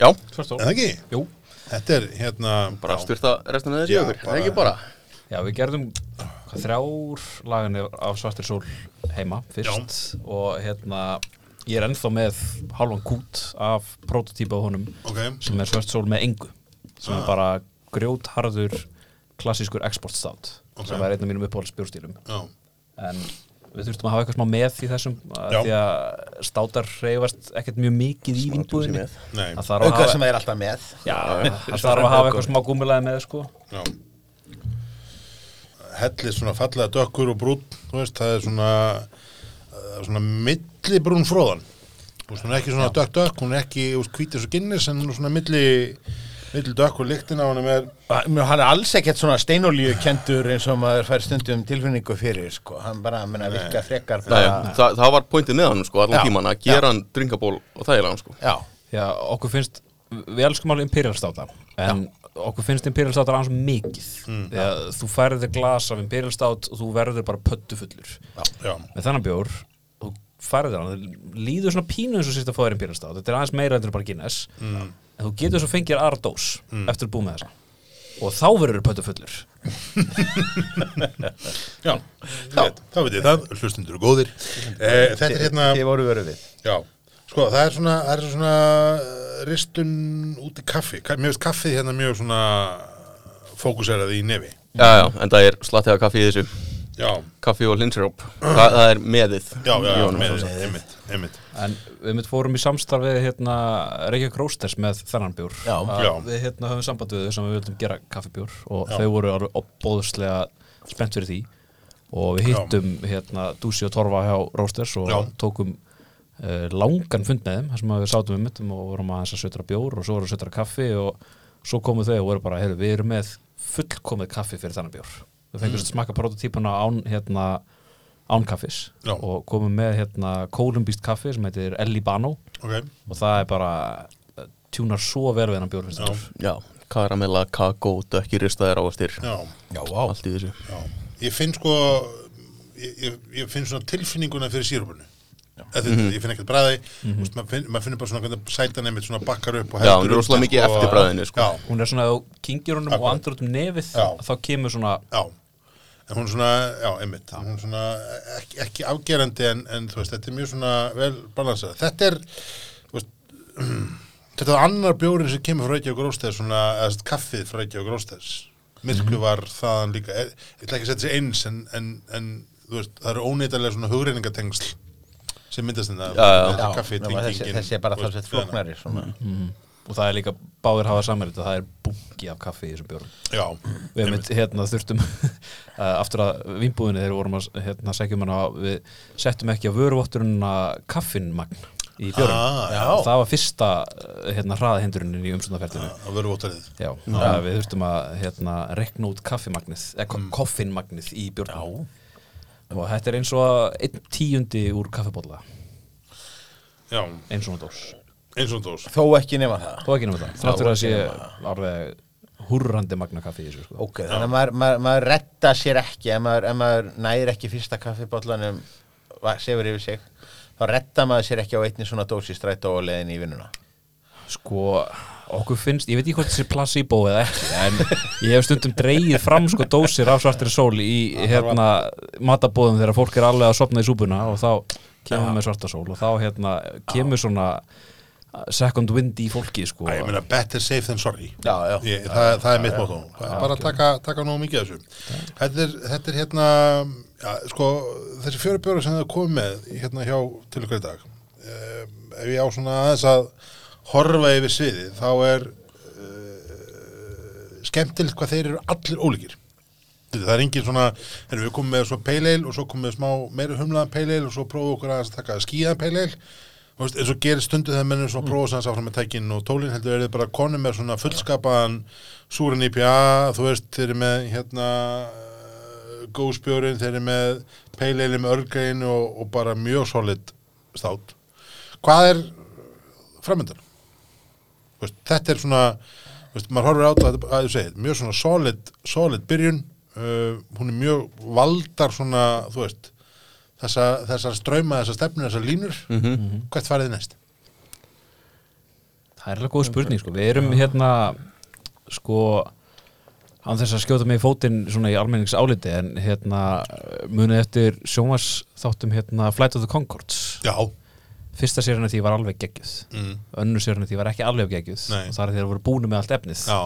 Speaker 3: Já,
Speaker 1: en það ekki
Speaker 4: Jú,
Speaker 1: þetta er hérna
Speaker 3: bara
Speaker 1: já.
Speaker 3: styrta restan að þessi
Speaker 1: Já,
Speaker 3: okkur,
Speaker 1: bara-
Speaker 3: það er ekki bara
Speaker 4: Já, við gerðum hvað, þrjár laganir af Svartir Sól heima fyrst og hérna ég er ennþá með hálfan kút af prototípa á honum
Speaker 1: ok,
Speaker 4: sem er Svart Sól með engu sem er bara grjótharður klassískur exportstátt
Speaker 1: Ok.
Speaker 4: sem er einn af mínum uppáhaldsbjórstílum
Speaker 1: já,
Speaker 4: en við þurftum að hafa eitthvað smá með í þessum að
Speaker 1: Já.
Speaker 4: því að státar hreyfast ekkert mjög mikið í vínbúðinni
Speaker 3: með.
Speaker 1: Nei.
Speaker 4: það þarf að
Speaker 2: aukað
Speaker 4: hafa,
Speaker 2: sem það er alltaf með
Speaker 4: já, það þarf að hafa eitthvað smá gúmilaði með sko
Speaker 1: já hellið svona fallega dökkur og brún þú veist, það er svona það er svona milli brún fróðan þú veist, hún er ekki svona dökk dökk hún er ekki, þú veist, hvítið svo ginnis en hún er svona milli, milli dökk og lyktin á hann er
Speaker 2: Mér- hann er alls ekkert svona steinolíu kendur eins og maður fær stundum tilfinningu fyrir sko. hann bara, menna, virka frekar
Speaker 3: Nei,
Speaker 2: bara,
Speaker 3: það, það var pointið með hann sko,
Speaker 2: Já.
Speaker 3: allan tíman að gera hann dringaból og þægilegan sko
Speaker 2: já,
Speaker 4: Já, okkur finnst, við elskum alveg Imperial státa en okkur finnst Imperial státa aðeins mikið því að þú færið þér glas af Imperial stát og þú verður bara pöttufullur
Speaker 1: já,
Speaker 4: með þannig bjór þú færið þér hann, það líður svona pínu eins og sérst að fá þér Imperial stát þetta er aðeins meira heldur en bara Guinness en þú getur svo fengið þér aðra dós eftir að búið með þessa og þá verður pöttufullur
Speaker 1: já, já. þá veit ég það, hlustundur eru góðir eh, þetta er hérna
Speaker 2: þið voru verið við
Speaker 1: já, sko það er svona, það er svona eh, ristun út í kaffi Ka- mér veist kaffið hérna mjög svona fókuserað í nefi
Speaker 3: Já, já, en það er slattið af kaffi í þessu
Speaker 1: já,
Speaker 3: kaffi og linsiróp Þa, það er meðið
Speaker 1: já, já,
Speaker 3: í
Speaker 1: já
Speaker 3: honum,
Speaker 1: með,
Speaker 3: svo sem.
Speaker 1: einmitt, einmitt
Speaker 4: En við mitt fórum í samstarfið hérna Reykjavík Rósters með þennan bjór
Speaker 2: Já.
Speaker 4: Að
Speaker 1: Já.
Speaker 4: Við hérna höfum samband við þau sem við vildum gera kaffibjór og
Speaker 1: Já.
Speaker 4: þau voru alveg opbóðslega spennt fyrir því og við hittum hérna Dúsi og Torfa hjá Rósters og
Speaker 1: Já.
Speaker 4: tókum uh, langan fund með þeim þar sem að við sátum við mittum og vorum aðeins að sötra bjór og svo vorum að sötra kaffi og svo komu þau og voru bara, heyrðu, við erum með fullkomið kaffi fyrir þennan bjór við fengum mm. smakka prototýpuna án hérna án kaffis
Speaker 1: Já.
Speaker 4: og komum með hérna kolumbíst kaffi sem heitir El Libano
Speaker 1: ok,
Speaker 4: og það er bara eh, tjúnar svo vel við hennan
Speaker 1: já,
Speaker 4: bjórfinstur
Speaker 3: já, karamella, kakó, dökki ristaðir ávastir
Speaker 1: já,
Speaker 2: Já, vá.
Speaker 3: allt í þessu
Speaker 1: já ég finn sko ég, ég, ég finn svona tilfinninguna fyrir sírupinu Þetta,
Speaker 3: Mhm.
Speaker 1: ég finn ekkert bræði mm -hmm. maður finn, maður finnur bara svona hvernig sætan einmitt svona bakkar upp og
Speaker 3: Já, hún er
Speaker 1: heldur undan,
Speaker 3: rosalega mikið
Speaker 1: sko.
Speaker 3: eftir bragðinu, sko.
Speaker 1: já,
Speaker 4: hún er svona, ef þú kingir honum og
Speaker 1: Akkurat.
Speaker 4: andur út um nefið
Speaker 1: Já.
Speaker 4: þá kemur svona
Speaker 1: já en hún er svona, já, einmitt hún er svona ekki, ekki afgerandi en, en þú veist, þetta er mjög svona vel balansað þetta er þú veist, þetta er annar bjórin sem kemur frá Reykjavík Róstæðs svona, eða sett kaffið frá Reykjavík Róstæðs myrklu var þaðan líka ég ég ætla ekki að setja sér eins en, en, en þú veist, það eru óneitarlega svona hugreiningatengsl sem myndast þetta
Speaker 3: Já, já.
Speaker 1: Þetta kaffi,
Speaker 2: nema þessi,
Speaker 1: tengingin,
Speaker 2: þessi er bara
Speaker 1: þú veist, hérna. Mm.
Speaker 2: þess að flóknari svona.
Speaker 4: og það er líka, báðir hafa samanlítið það er bungi af kaffi í þessum bjórum
Speaker 1: já,
Speaker 4: við einmitt, hérna þurftum eh, aftur að vinnbúðinni þegar við vorum að hérna, segjum hana, við settum ekki á vöruvotturuna kaffinmagn í bjórum
Speaker 1: Ah, já.
Speaker 4: það var fyrsta eh, hérna, hraðahindrunin í umsöndaferðinu
Speaker 1: að vera votarið
Speaker 4: Já, já. við þurftum að hérna, rekna út kaffimagnið, eða mm. koffinmagnið í björnum og þetta er eins og að einn tíundi úr kaffibólla
Speaker 1: já,
Speaker 4: eins og hún dós
Speaker 1: eins og dós
Speaker 2: Þó ekki nema það
Speaker 4: þó ekki nema það, þráttur að sé alveg hurrandi magna kaffi í þessu sko.
Speaker 2: Ok, þannig að maður, maður, maður retta sér ekki ef maður, ef maður næri ekki fyrsta kaffibóllanum sefur yfir sig þá retta maður sér ekki á einni svona dósi strætó og leiðin í vinnuna
Speaker 4: sko, okkur finnst, ég veit ekki hvort þessi placebo eða ekki, en ég hef stundum dreigið fram sko dósir af svartri sól í hérna matabóðum þegar fólk er alveg að sopna í súpuna og þá kemur með svarta sól og þá hérna kemur svona second wind í fólki sko
Speaker 1: Æ, ég meina, better safe than sorry
Speaker 2: Já, já.
Speaker 1: ég, það, það er mitt mótó bara taka, taka nógu mikið af þessu þetta er, þetta er hérna já, sko, þessi fjöru bjóra sem það komið með hérna hjá til ykkur í dag eh, ef ég á svona aðeins að horfa yfir sviði þá er uh, skemmtilegt hvað þeir eru allir ólíkir það er engin svona, erum við komum með svo peileil og svo komum við smá meira humlaðan peileil og svo prófum við okkur aðeins að taka skíðan peileil og veist, eins og gerir stundu þegar mennum svona prófa sanns áfram með tækin og tólin heldur er þið bara konum með svona fullskapaðan súran IPA, þú veist þeir eru með hérna góðspjórin, þeir eru með peileili með örgrein og, og bara mjög solid stát hvað er framöndan? veist, þetta er svona veist, maður horfir á þetta þetta er bara- að þú segir, mjög svona solid, solid byrjun uh, hún er mjög valdar svona, þú veist þessa, þessar ströma, þessar stefnur, þessar línur hvert farið þið næst?
Speaker 4: Það er alveg góð spurning sko, við erum hérna sko án þess að skjóta mig í fótinn svona í almennings áliti en hérna munið eftir sjómas þáttum hérna Flight of the Concords
Speaker 1: Já,
Speaker 4: fyrsta sérinu því var alveg geggjuð
Speaker 1: mm,
Speaker 4: önnu sérinu því var ekki alveg geggjuð
Speaker 1: Nei.
Speaker 4: og það er því að voru búinu með allt efnið
Speaker 1: já,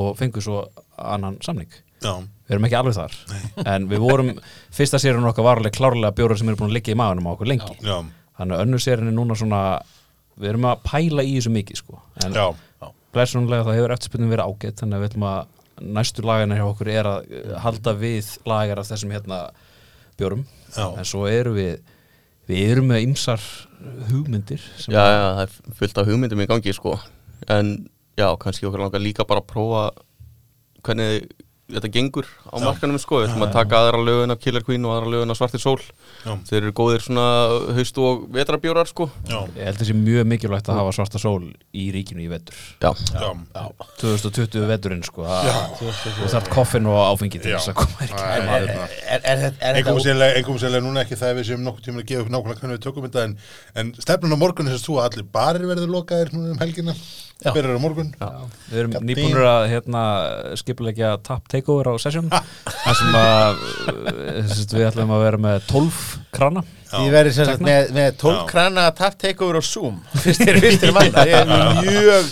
Speaker 4: og fengu svo annan samning
Speaker 1: já
Speaker 4: við erum ekki alveg þar en við vorum, fyrsta sérinu okkar var alveg klárlega bjórar sem eru búin að liggja í maðunum á okkur lengi
Speaker 1: já,
Speaker 4: þannig að önnu sérinu núna svona við erum að pæla í þessu mikið sko en
Speaker 1: já,
Speaker 4: blessunlega það hefur eftirspunum verið ágætt þannig að við ætlum að næstu lagana hjá okkur er að eh, halda við lagar af þessum hérna bjórum
Speaker 1: Já.
Speaker 4: en svo erum við við erum með ymsar hugmyndir sem
Speaker 3: já, já, það er fullt af hugmyndum í gangi sko. en já, kannski okkur langar líka bara að prófa hvernig þetta gengur á markanum sko. við ætlum að taka aðra lögun af Killer Queen og aðra lögun af Svartir Sól
Speaker 1: Já.
Speaker 3: þeir eru góðir svona haust og vetrabjórar sko.
Speaker 1: já,
Speaker 4: ég held þessi mjög mikilvægt að hafa svarta sól í ríkinu í vetur
Speaker 3: já,
Speaker 1: já,
Speaker 4: 2020 veturinn sko að- þú þarf koffin og áfengi til
Speaker 1: Já.
Speaker 4: þess að koma í
Speaker 1: Æ,
Speaker 4: kæma
Speaker 2: Er, er, er, er, þetta- er
Speaker 1: Engum
Speaker 2: þetta
Speaker 1: sérlega, engum sérlega núna ekki það að við séum nokkuð tíma að gefa okkur nákvæmlega hvernig við tökum þetta en, en stefnun á morgun er þess að þú að allir barir verður lokaðir núna um helgina hver er á morgun? Já,
Speaker 4: við erum nýbúnur að hérna, skipulegja tap takeover á session þar sem að eh, sem sagt, við ætlum að vera með 12 krana
Speaker 2: Þið verður sem sagt
Speaker 4: Tekna.
Speaker 2: með, með
Speaker 1: Já.
Speaker 2: tólkrana tap takeover og zoom fyrstir, fyrstir manna Ég er mjög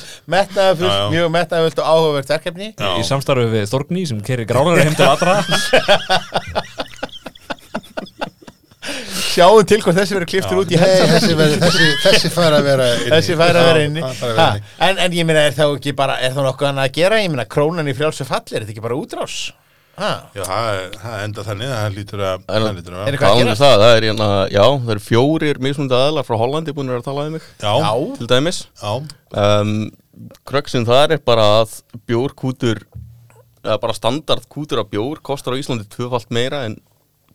Speaker 1: Já,
Speaker 2: metnaðafullt,
Speaker 1: já.
Speaker 2: mjög metnaðafullt og áhugavert verkefni
Speaker 1: Já.
Speaker 4: í samstarfi við Þorgný sem kerir grálar heim til allra
Speaker 2: sjáum til hvort þessi verður kliftur út í
Speaker 1: Nei,
Speaker 2: hendan
Speaker 1: þessi, verður- þessi, þessi fær að vera inni.
Speaker 2: þessi færi að vera inni
Speaker 1: Já, hann fær að
Speaker 2: Ha,
Speaker 1: vera inni.
Speaker 2: en, en ég meina, er þá ekki bara er þá nokkuð annað að gera, ég meina, krónan í frjálsu falli er þetta ekki bara útrás ha.
Speaker 1: Já, það er- það enda þannig að hann lítur að
Speaker 3: En-
Speaker 1: hann lítur
Speaker 2: Er
Speaker 1: að
Speaker 2: eitthvað að
Speaker 3: Talan
Speaker 2: gera?
Speaker 3: er það, það er hérna, já, það eru fjórir mismunandi aðlar frá Hollandi búin að vera að tala um mig
Speaker 1: Já,
Speaker 2: já,
Speaker 3: til dæmis
Speaker 1: já,
Speaker 3: um, Kröksin þar er bara að bjórkútur eða bara standard kútur af bjór kostar á Íslandi tvöfalt meira en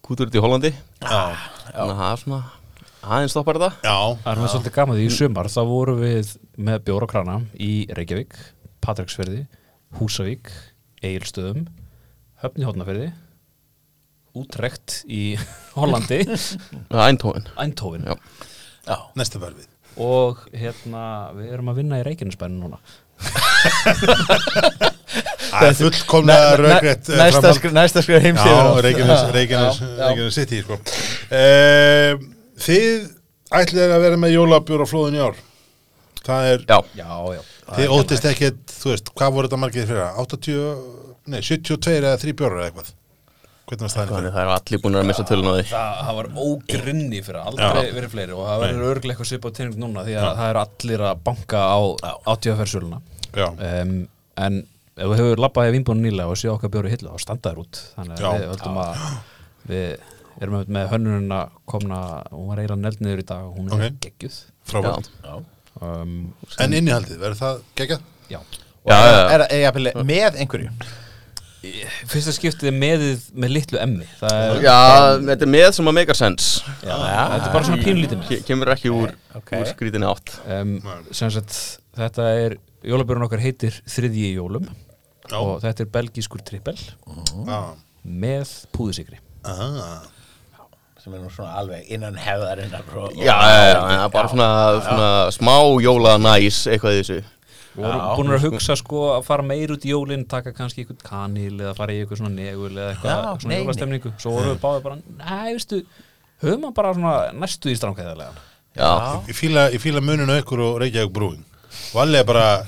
Speaker 3: kútur út í Hollandi
Speaker 1: já,
Speaker 2: Ah.
Speaker 3: þannig að það er svona aðeins stoppar þetta
Speaker 1: já.
Speaker 4: Það er með svolítið gaman því í sumar þá vorum við með bjóra krana í Reykjavík, Patræksferði, Húsavík, Egilstöðum, Höfni Hótnafyrði, Útrekt í Hollandi,
Speaker 3: Það er Eindhoven
Speaker 4: Eindhoven
Speaker 3: Já.
Speaker 2: já.
Speaker 1: Næsta var við.
Speaker 4: og hérna við erum að vinna í Reykjanesbæn núna.
Speaker 1: Það er fullkomlega raugrætt
Speaker 2: Næ- næ- næsta skr- næsta skrifa
Speaker 1: Já,
Speaker 2: heimsíður
Speaker 1: Reykjanes, Reykjanes, Reykjanes City, sko. Um, þið ætlir að vera með jólabjór á flóðin í ár. Það er,
Speaker 3: Já,
Speaker 4: Já, já.
Speaker 1: þið óttist ekkert, þú veist, hvað voru þetta margir fyrir? 80, nei, 72 eða 3 bjórar eða eitthvað. Hvernig var staðan í
Speaker 3: þannig
Speaker 1: fyrir?
Speaker 3: að það eru allir búin að missa tölun á því
Speaker 4: Það, það var ógrinni fyrir aldrei verið fleiri og það verður örglega eitthvað svipað tenning núna því að það eru allir að banka á 80 fersöluna.
Speaker 1: Já,
Speaker 4: um, en ef við hefur labbaði vinnbúinu nýlega og séu okkar bjóri hillu þá standa þær út þannig að
Speaker 1: Já.
Speaker 4: við höldum að við erum með- með hönnununa komna hún var eiginlega neld niður í dag og hún er
Speaker 1: Ok.
Speaker 4: geggjuð
Speaker 1: frábært.
Speaker 4: um,
Speaker 1: En innihaldið, verður það geggjað?
Speaker 4: já.
Speaker 3: Já, já, já.
Speaker 2: er, er, er, með einhverju
Speaker 4: fyrsta skiptið er meðið með litlu emmi það er,
Speaker 3: Já, þetta er með sem að make a sense
Speaker 4: já, þetta er bara svona pínlítið með
Speaker 3: Ke- Kemur ekki úr,
Speaker 2: ok.
Speaker 3: úr skrítinni átt
Speaker 4: um,
Speaker 1: Nei.
Speaker 4: sem sagt, þetta er jólabjörn okkar heitir þriðji í jólum
Speaker 1: Já.
Speaker 4: og þetta er belgískur trippel
Speaker 1: Já.
Speaker 4: með púðusikri
Speaker 1: Ah.
Speaker 2: sem er nú svona alveg innan hefðarinnar og-
Speaker 3: Já, já, já, já, já bara svona, svona smá jóla næs eitthvað í þessu
Speaker 4: Við vorum búin að hugsa sko að fara meir út í jólinn, taka kannski eitthvað kanil eða fara í eitthvað svona negul eða eitthvað
Speaker 2: Já,
Speaker 4: svona
Speaker 2: nei, nei.
Speaker 4: jólastemningu. Svo vorum við báðið bara, næ, veistu, höfum við bara svona næstu í stránkæðarlega.
Speaker 3: Já,
Speaker 1: Ég fíla, ég fíla muninu ykkur og Reykjavík brúin og allir er bara,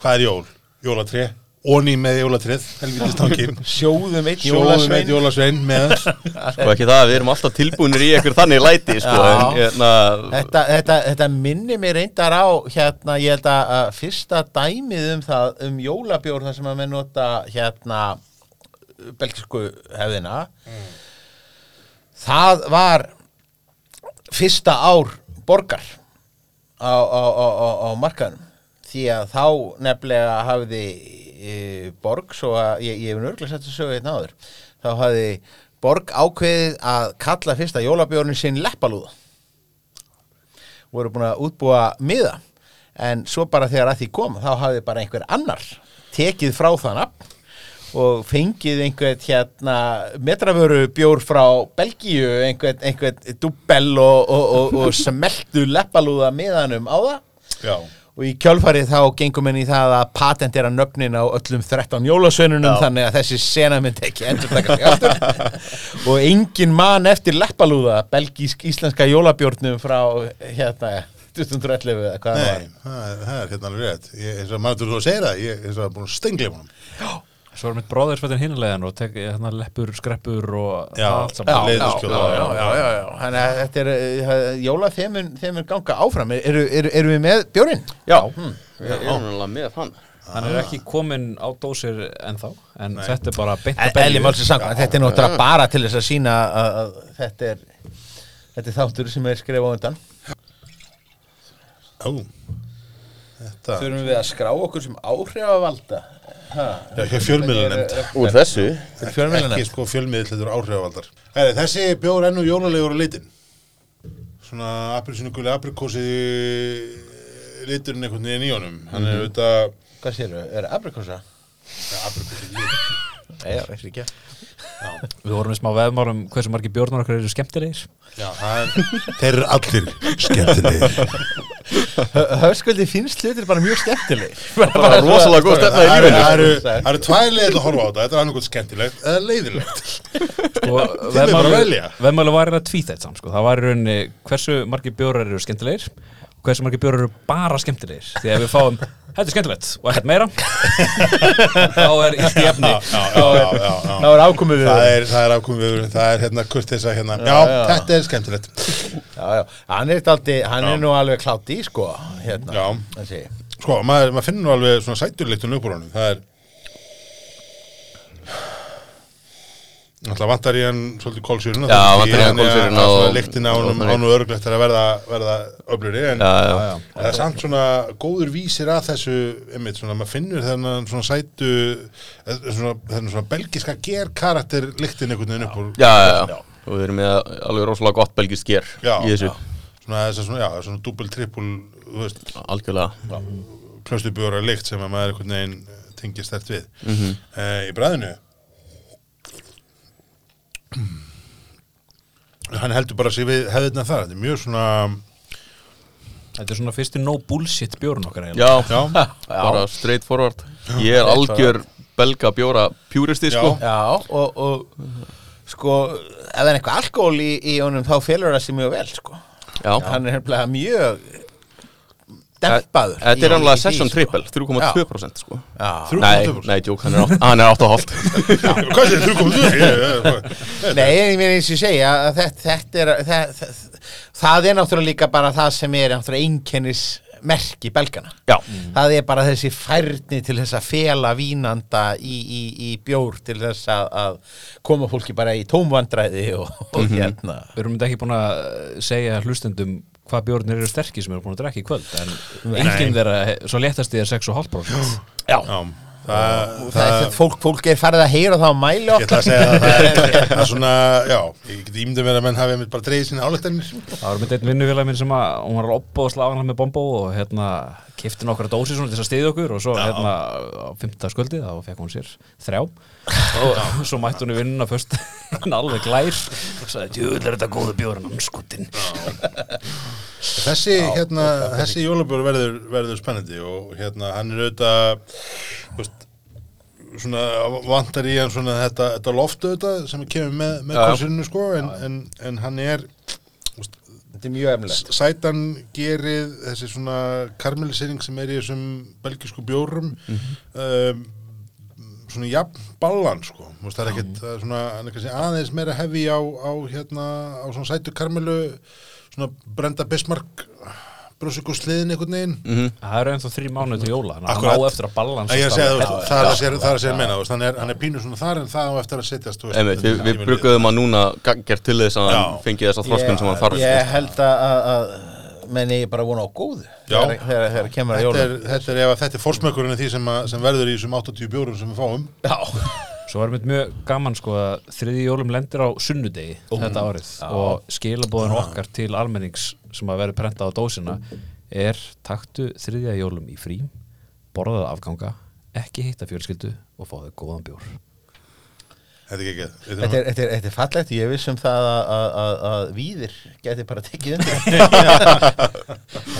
Speaker 1: hvað er jól? Jólatré, óný með jólatrið helvítið stangin,
Speaker 2: sjóðum eitt
Speaker 1: sjóðum eitt
Speaker 2: jólasvein
Speaker 1: jólasvein með þess
Speaker 3: sko ekki það, við erum alltaf tilbúinir í einhver þannig læti, sko
Speaker 2: Já.
Speaker 3: en, hérna,
Speaker 2: Þetta, þetta, þetta minni mér reyndar á hérna, ég held að að fyrsta dæmið um það, um jólabjór þar sem að menn nota hérna belgisku hefðina það var fyrsta ár borgar á, á, á, á, á markaðnum því að þá nefnilega hafði e, borg svo að ég, ég hef nörglega sett að sögu einn áður þá hafði borg ákveðið að kalla fyrsta jólabjórnin sinn leppalúða voru búin að útbúa miða en svo bara þegar að því kom þá hafði bara einhver annar tekið frá það nafn og fengið einhvern hérna metravöru bjór frá Belgíu einhvern, einhvern dubbel og, og, og, og smeltu leppalúða miðanum á það
Speaker 1: Já,
Speaker 2: og í kjölfarið þá gengum enn í það að patentera nöfnin á öllum 13 jólasveinunum þannig að þessi sena mynd ekki endur taka sig aftur og engin mann eftir leppalúða belgísk íslenska jólabjórnum frá hérna 2011 eða hvað það var
Speaker 1: nei, það er- það er hérna alveg rétt ég, eins og maður þú segir það, ég eins og búin að stengla honum
Speaker 4: Svo erum við bróðarsvættin hinlegan og tek hérna leppur, skreppur og
Speaker 1: Já,
Speaker 4: það allt saman.
Speaker 1: já.
Speaker 2: já, já, já, já, já. Þannig að þetta er uh, jólaþemun þemun ganga áfram. Eru, eru, eru við með bjórinn?
Speaker 3: já, við erum náttúrulega með hann
Speaker 4: Hann er ekki kominn á dósir ennþá, en þetta er bara beint að
Speaker 2: Elli E, Málsins samkvæmt, þetta er náttúrulega bara til þess að sína að, að þetta er þetta er þáttur sem er skrifað á undan.
Speaker 1: Ó, Þetta,
Speaker 2: Þurfum við að skrá okkur sem áhrifavalda ha,
Speaker 1: já, hjá fjölmiðlunemnd
Speaker 3: Úr þessu
Speaker 2: fjölmiðlunum.
Speaker 1: Ekki sko fjölmiðlunemnd áhrifavaldar Heri, Þessi bjóður ennú jólalegur á litin Svona aprilsinu guli aprikósi eh, liturinn einhvern veginn í honum Hann er auðvitað
Speaker 2: Hvað séru, er aprikosa?
Speaker 1: aprikósi
Speaker 2: Nei, ég veist ekki
Speaker 4: Við vorum í smá veðmálum um hversu margir bjórnar okkar eru skemmtilegir.
Speaker 1: Já, það er, þeir eru allir skemmtilegir
Speaker 2: Höfskuldi finnst hlutir bara mjög skemmtileg
Speaker 3: Bara rosalega góð stefna í
Speaker 1: Það
Speaker 3: lífinu sko.
Speaker 1: eru- það eru, það eru tvær leiðir til að horfa á þetta Þetta er annað skemmtilegt eða leiðilegt
Speaker 4: og
Speaker 1: er bara að velja.
Speaker 4: veðmælu var hérna tvíþætt samt sko. það var í rauninni hversu margir bjórar eru skemmtilegir og hversu margir bjórar eru bara skemmtilegir því að við fáum, þetta er skemmtilegt og þetta meira þá er illt í efni
Speaker 1: Já, já, já, já, já.
Speaker 2: Það var ákomið við
Speaker 1: Það er, það er afkomið við, það er hérna kurteisa hérna Já, þetta er skemmtilegt
Speaker 2: já, já, hann er, daldi, hann er nú alveg klátt í sko hérna,
Speaker 1: Já.
Speaker 2: þessi.
Speaker 1: Sko, maður, maður finnur nú alveg svona sæturleiktun upp úr honum. Það er... Náttúrulega vantar í hann svolítið kólsýruna.
Speaker 3: Já, vantar í hann kólsýruna
Speaker 1: og...
Speaker 3: og-
Speaker 1: Svona leiktin á honum,
Speaker 3: og-
Speaker 1: á honum örglegt er að verða, verða öfluri, en
Speaker 3: Já, já.
Speaker 1: það er samt svona góður vísir að þessu, einmitt, svona maður finnur þennan svona sætu, eh, svona, þennan svona belgiska gerkarakter leiktin einhvern veginn upp úr.
Speaker 3: já, já, já. og við erum með alveg rosalega gott belgist ger
Speaker 1: Já,
Speaker 3: í þessu,
Speaker 1: Svona þess að svona, já, svona dúbel, trippul, þú veist,
Speaker 3: algjörlega
Speaker 1: klöstubjóra lykt sem að maður einhvern veginn tengir stert við mm í bræðinu hann heldur bara sér við hefðina þar, þetta er mjög svona
Speaker 4: Þetta er svona fyrsti no bullshit bjórn okkar eiginlega.
Speaker 3: já,
Speaker 1: já,
Speaker 3: bara straight forward ég er algjör belga bjóra pjúristi
Speaker 1: Já.
Speaker 3: sko
Speaker 2: já, og, og sko, ef það er eitthvað alkohol í, í honum þá félur það sér mjög vel sko
Speaker 3: já,
Speaker 2: hann er hefnilega mjög dempaður
Speaker 3: þetta
Speaker 2: í-
Speaker 3: er
Speaker 2: í
Speaker 3: alveg
Speaker 2: því,
Speaker 3: session
Speaker 2: sko.
Speaker 3: triple 3,2% sko
Speaker 2: Já.
Speaker 1: Þrjú- 3,2%.
Speaker 3: nei, nei, djók, hann er átt- hann er 8,5
Speaker 1: hvað er þetta, 3,2
Speaker 2: Nei, ég meina eins og ég segja að þetta, þetta er það, það, það er náttúrulega líka bara það sem er náttúrulega einkennis merki belgana.
Speaker 3: já,
Speaker 2: Það er bara þessi færni til þess að fela vínanda í, í, í bjór til þess að, að koma fólki bara í tómvandræði og, og hérna.
Speaker 4: Við erum þetta ekki búin að eh, segja hlustendum hvað bjórnir eru sterkir sem eru búin að drekka í kvöld en enginn þeirra, eh, svo léttast er 6,5%
Speaker 2: Já,
Speaker 1: já, það,
Speaker 2: það, það, fólk, fólk er farið að heyra það á mæli
Speaker 1: ég ætla
Speaker 2: okkar.
Speaker 1: að segja að það er, það er svona, já, ég geti ímyndið mér að menn hafi einmitt bara dreigið sína álektanir
Speaker 4: Það var myndið einn vinnufélag minn sem að hún var oppa og slagan hann með bombó og hérna kifti nokkra dósi svona til þess að stiðja okkur og svo hérna á fymta skuldi þá fekk hún sér þrjá og svo mætti hún í vinnuna fyrst hann alveg glær og sagði djúðl er þetta góðu bjórin hann skutin
Speaker 1: Þessi, hérna, þessi jólabjór verður, verður spennandi og hérna, hann er auðvitað þú veist, svona, vantar í hann svona þetta, þetta loft auðvitað sem kemur með, með
Speaker 3: Já.
Speaker 1: korsinu sko, en, en, en hann er
Speaker 2: Þetta er mjög efnilegt.
Speaker 1: sætan gerið þessi svona karmelisering sem er í þessum belgisku bjórum
Speaker 3: Mhm.
Speaker 1: um, svona jafn ballan sko, Þú veist, það er ekkert það er svona, hann er kannski aðeins meira hefi á, á hérna, á svona sætu karmelu svona brenda Bismarck brúsiku sliðin einhvern veginn
Speaker 3: Mhm.
Speaker 4: Það eru ennþá þrý mánuð til jóla þannig að
Speaker 1: Akkurat.
Speaker 4: hann á eftir að balansa
Speaker 1: Nei, ég segi, þú
Speaker 4: alltaf.
Speaker 1: veist, það er að segja, það er að segja meina, þú veist, hann er, hann er pínu svona þar en það á eftir að setjast, þú
Speaker 3: Einmitt, við, við
Speaker 1: tímanum líður.
Speaker 3: bruggum að núna gaggjart til þess að hann
Speaker 1: Já.
Speaker 3: fengi þessa þroskun sem hann þarf sko.
Speaker 2: Ég held að, að, að menn ég er bara að vona á góðu
Speaker 1: Já.
Speaker 2: þegar, þegar, þegar kemur að
Speaker 1: Þetta
Speaker 2: jóla.
Speaker 1: er, þetta er, ef að þetta er fórsmökkurinn af því sem, að, sem verður í þessum 80 bjórum sem við fáum.
Speaker 2: Já.
Speaker 4: Svo var mér mjög gaman sko að þriði jólum lendir á sunnudegi þetta árið og skilabóðin okkar til almennings sem að verður prentað á dósina er taktu þriðja jólum í frí, borðaða afganga, ekki hitta fjölskyldu og fáðu góðan bjór.
Speaker 1: Þetta er ekki ekki.
Speaker 2: Þetta er, þetta, er, þetta er fallegt, ég viss um það að, að, að, að víðir geti bara tekið undir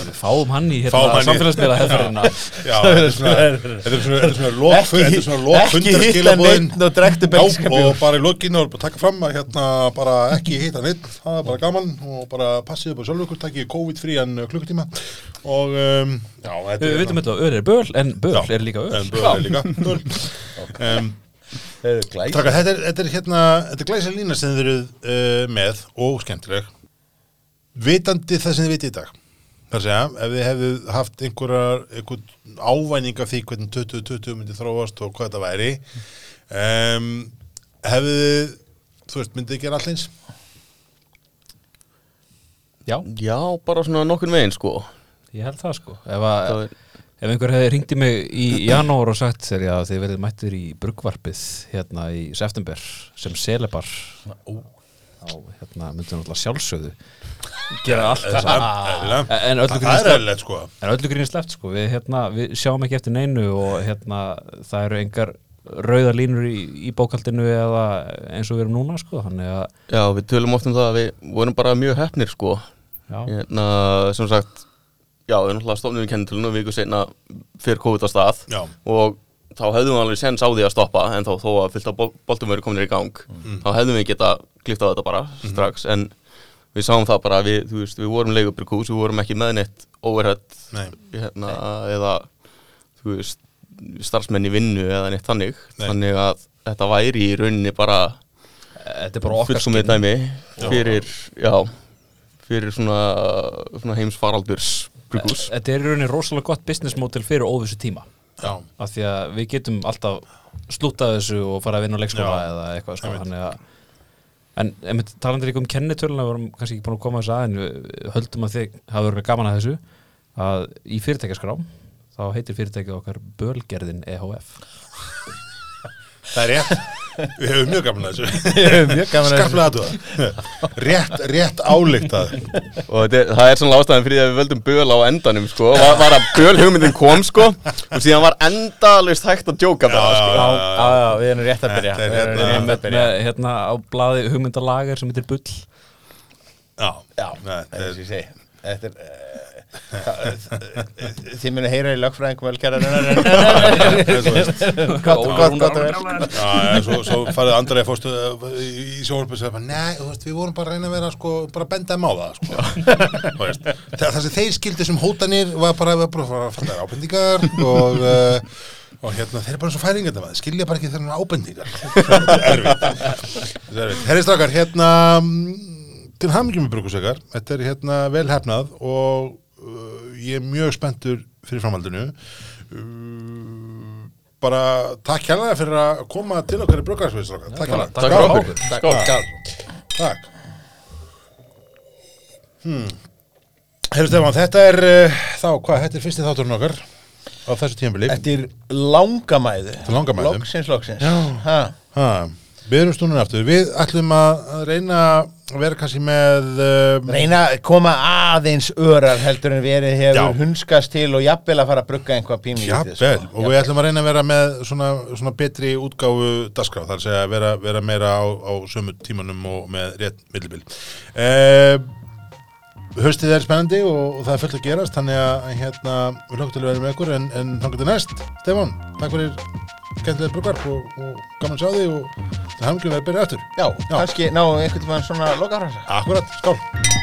Speaker 4: Við fáum hann í
Speaker 1: Fáum
Speaker 4: hérna
Speaker 1: hann í-
Speaker 4: samfélagsmiðla hefðarina.
Speaker 1: Já, þetta er svona, þetta er svona, þetta er svona lok, þetta er svona lok
Speaker 2: ekki hitta neitt og
Speaker 1: Já,
Speaker 2: drektu
Speaker 1: og
Speaker 2: belgskapjúr
Speaker 1: bara í lokinu og bara taka fram að hérna bara ekki hitta neitt, það er bara gaman og bara passið upp á sjálf ykkur, takkið COVID-frían uh, klukkutíma og um, já, þetta
Speaker 4: Við
Speaker 1: hérna-
Speaker 4: veitum þetta að öður er böl en böl
Speaker 1: Já.
Speaker 4: er líka
Speaker 1: En
Speaker 4: öður.
Speaker 1: böl er líka böl. um, Traka, þetta er, þetta er hérna, þetta er glæsa lína sem þið eruð uh, með og skemmtileg vitandi það sem þið vitið í dag þar að segja, ef þið hefðu haft einhverjar, einhvern ávæning af því hvernig 2020 myndi þróast og hvað þetta væri um, hefðu þið þú veist, myndið þið gera allins
Speaker 4: Já,
Speaker 3: Já, bara svona nokkurn veginn sko
Speaker 4: ég held það sko. Ef að...
Speaker 3: Það er-
Speaker 4: Ef einhver hefði ringt í mig í janúar og sagt þegar ég að þið verðið mættir í bruggvarpið hérna í september sem selebar þá hérna myndum alltaf sjálfsögðu gera allt þess að
Speaker 1: Eðlilega.
Speaker 4: En öllu
Speaker 1: það er
Speaker 4: grínist
Speaker 1: eðlilegt sko
Speaker 4: En öllu grínist left sko við, hérna, við sjáum ekki eftir neinu og hérna það eru engar rauðar línur í, í bókaldinu eða eins og við erum núna sko þannig að
Speaker 3: Já, við tölum oft um það að við vorum bara mjög hefnir sko
Speaker 4: já,
Speaker 3: hérna, sem sagt Já, við náttúrulega stofnum við kennitölun og viku seinna fyrir COVID á stað
Speaker 1: Já.
Speaker 3: og þá hefðum við alveg sens á því að stoppa en þá þó að fylgta boltum verið kominir í gang
Speaker 1: Mhm.
Speaker 3: þá hefðum við geta klift á þetta bara strax en við sáum það bara að við, þú veist, við vorum leigubrikús, við vorum ekki með neitt overhead
Speaker 1: Nei.
Speaker 3: hérna, eða þú veist, starfsmenn í vinnu eða neitt þannig,
Speaker 1: Nei.
Speaker 3: þannig að þetta væri í rauninni bara
Speaker 4: þetta er bara okkar
Speaker 3: fullkomið dæmi fyrir, já, fyrir svona, svona heimsfaraldurs brugús
Speaker 4: Þetta er í rauninni rosalega gott business model fyrir óvissu tíma
Speaker 1: Já,
Speaker 4: af því að við getum alltaf slútað þessu og fara að vinna á leikskóla
Speaker 1: Já.
Speaker 4: eða eitthvað sko,
Speaker 1: Einmitt.
Speaker 4: þannig að En einmitt, talandi líka um kennitöluna við vorum kannski ekki búin að koma þess að en við höldum að þið hafa verið gaman að þessu að í fyrirtækjaskrá þá heitir fyrirtækið okkar Bölgerðin E EHF
Speaker 1: það er rétt. Við hefum mjög gaman að þessu.
Speaker 2: Mjög gaman að
Speaker 1: Skaflega aðtúða. Rétt, rétt áleiktað.
Speaker 3: og þetta, er- það er svona ástæðan fyrir því að við völdum böl á endanum sko, var, var að böl hugmyndin kom sko, og síðan var endalaust hægt að djóka bara sko.
Speaker 2: Já, já, já, við erum rétt að byrja
Speaker 1: Þetta er
Speaker 2: Við
Speaker 1: hérna-
Speaker 2: erum rétt að byrja
Speaker 4: með, hérna á blaði hugmyndalager sem heitir Bull
Speaker 1: Já,
Speaker 2: Já,
Speaker 1: Nei,
Speaker 2: það er
Speaker 1: þetta
Speaker 2: sem ég segi Þetta er eh, það- Þið munu heyra í lögfræðingum velkjæra
Speaker 1: er svo veist.
Speaker 2: Gott, gott, gott að vera
Speaker 1: Já, já, svo, svo farið Andrei fórstu uh, í sjónvarpið og sagði bara, nei, þú veist, við vorum bara að reyna að vera sko, bara að benda þeim á það sko. Þú veist, það, það sem þeir skildi sem hótanir var bara að bara að fara að ábendingar og, uh, og hérna, þeir eru bara eins og færingar það skilja bara ekki þeirra ábendingar Þetta er erfitt Þetta er erfitt. Herri strákar, hérna mm, til hamingjum með brukusökar þetta er hérna vel hefnað og uh, ég er mjög spenntur fyrir framhaldinu Eh, bara takk hérlega fyrir að koma til okkar í brukarsveitstráka takk hérlega
Speaker 3: takk fyrir okkur.
Speaker 1: Skál. takk Herru Stefán, þetta er uh, þá, hvað, þetta er fyrsti þátturinn okkar á þessu tímabili
Speaker 2: Þetta er langamæðu
Speaker 1: er langamæðu.
Speaker 2: Loksins, loksins
Speaker 1: Já.
Speaker 2: Ha,
Speaker 1: ha, við erum stúnum aftur við ætlum að að reyna að vera kannski með uh,
Speaker 2: Reyna að koma aðeins örar heldur en verið
Speaker 1: Já.
Speaker 2: hefur hunskast til og jafnvel að fara að brugga einhvað pínlítið
Speaker 1: jafnvel, og við ætlum að reyna að vera með svona, svona betri útgáfu dasgrá, þar að segja að vera, vera meira á, á sömu tímanum og með rétt millibil uh, Haustið er spennandi og, og það er fullt að gerast þannig að hérna, við lókum til að vera með ykkur en, en þangar til næst, Stefán takk fyrir skemmtilega brugvarp og, og gaman að sjá þig og það hafum ekki verið að byrja eftir
Speaker 2: Já, kannski náum við einhvern tímann svona lokafransa
Speaker 1: Akkurat, skál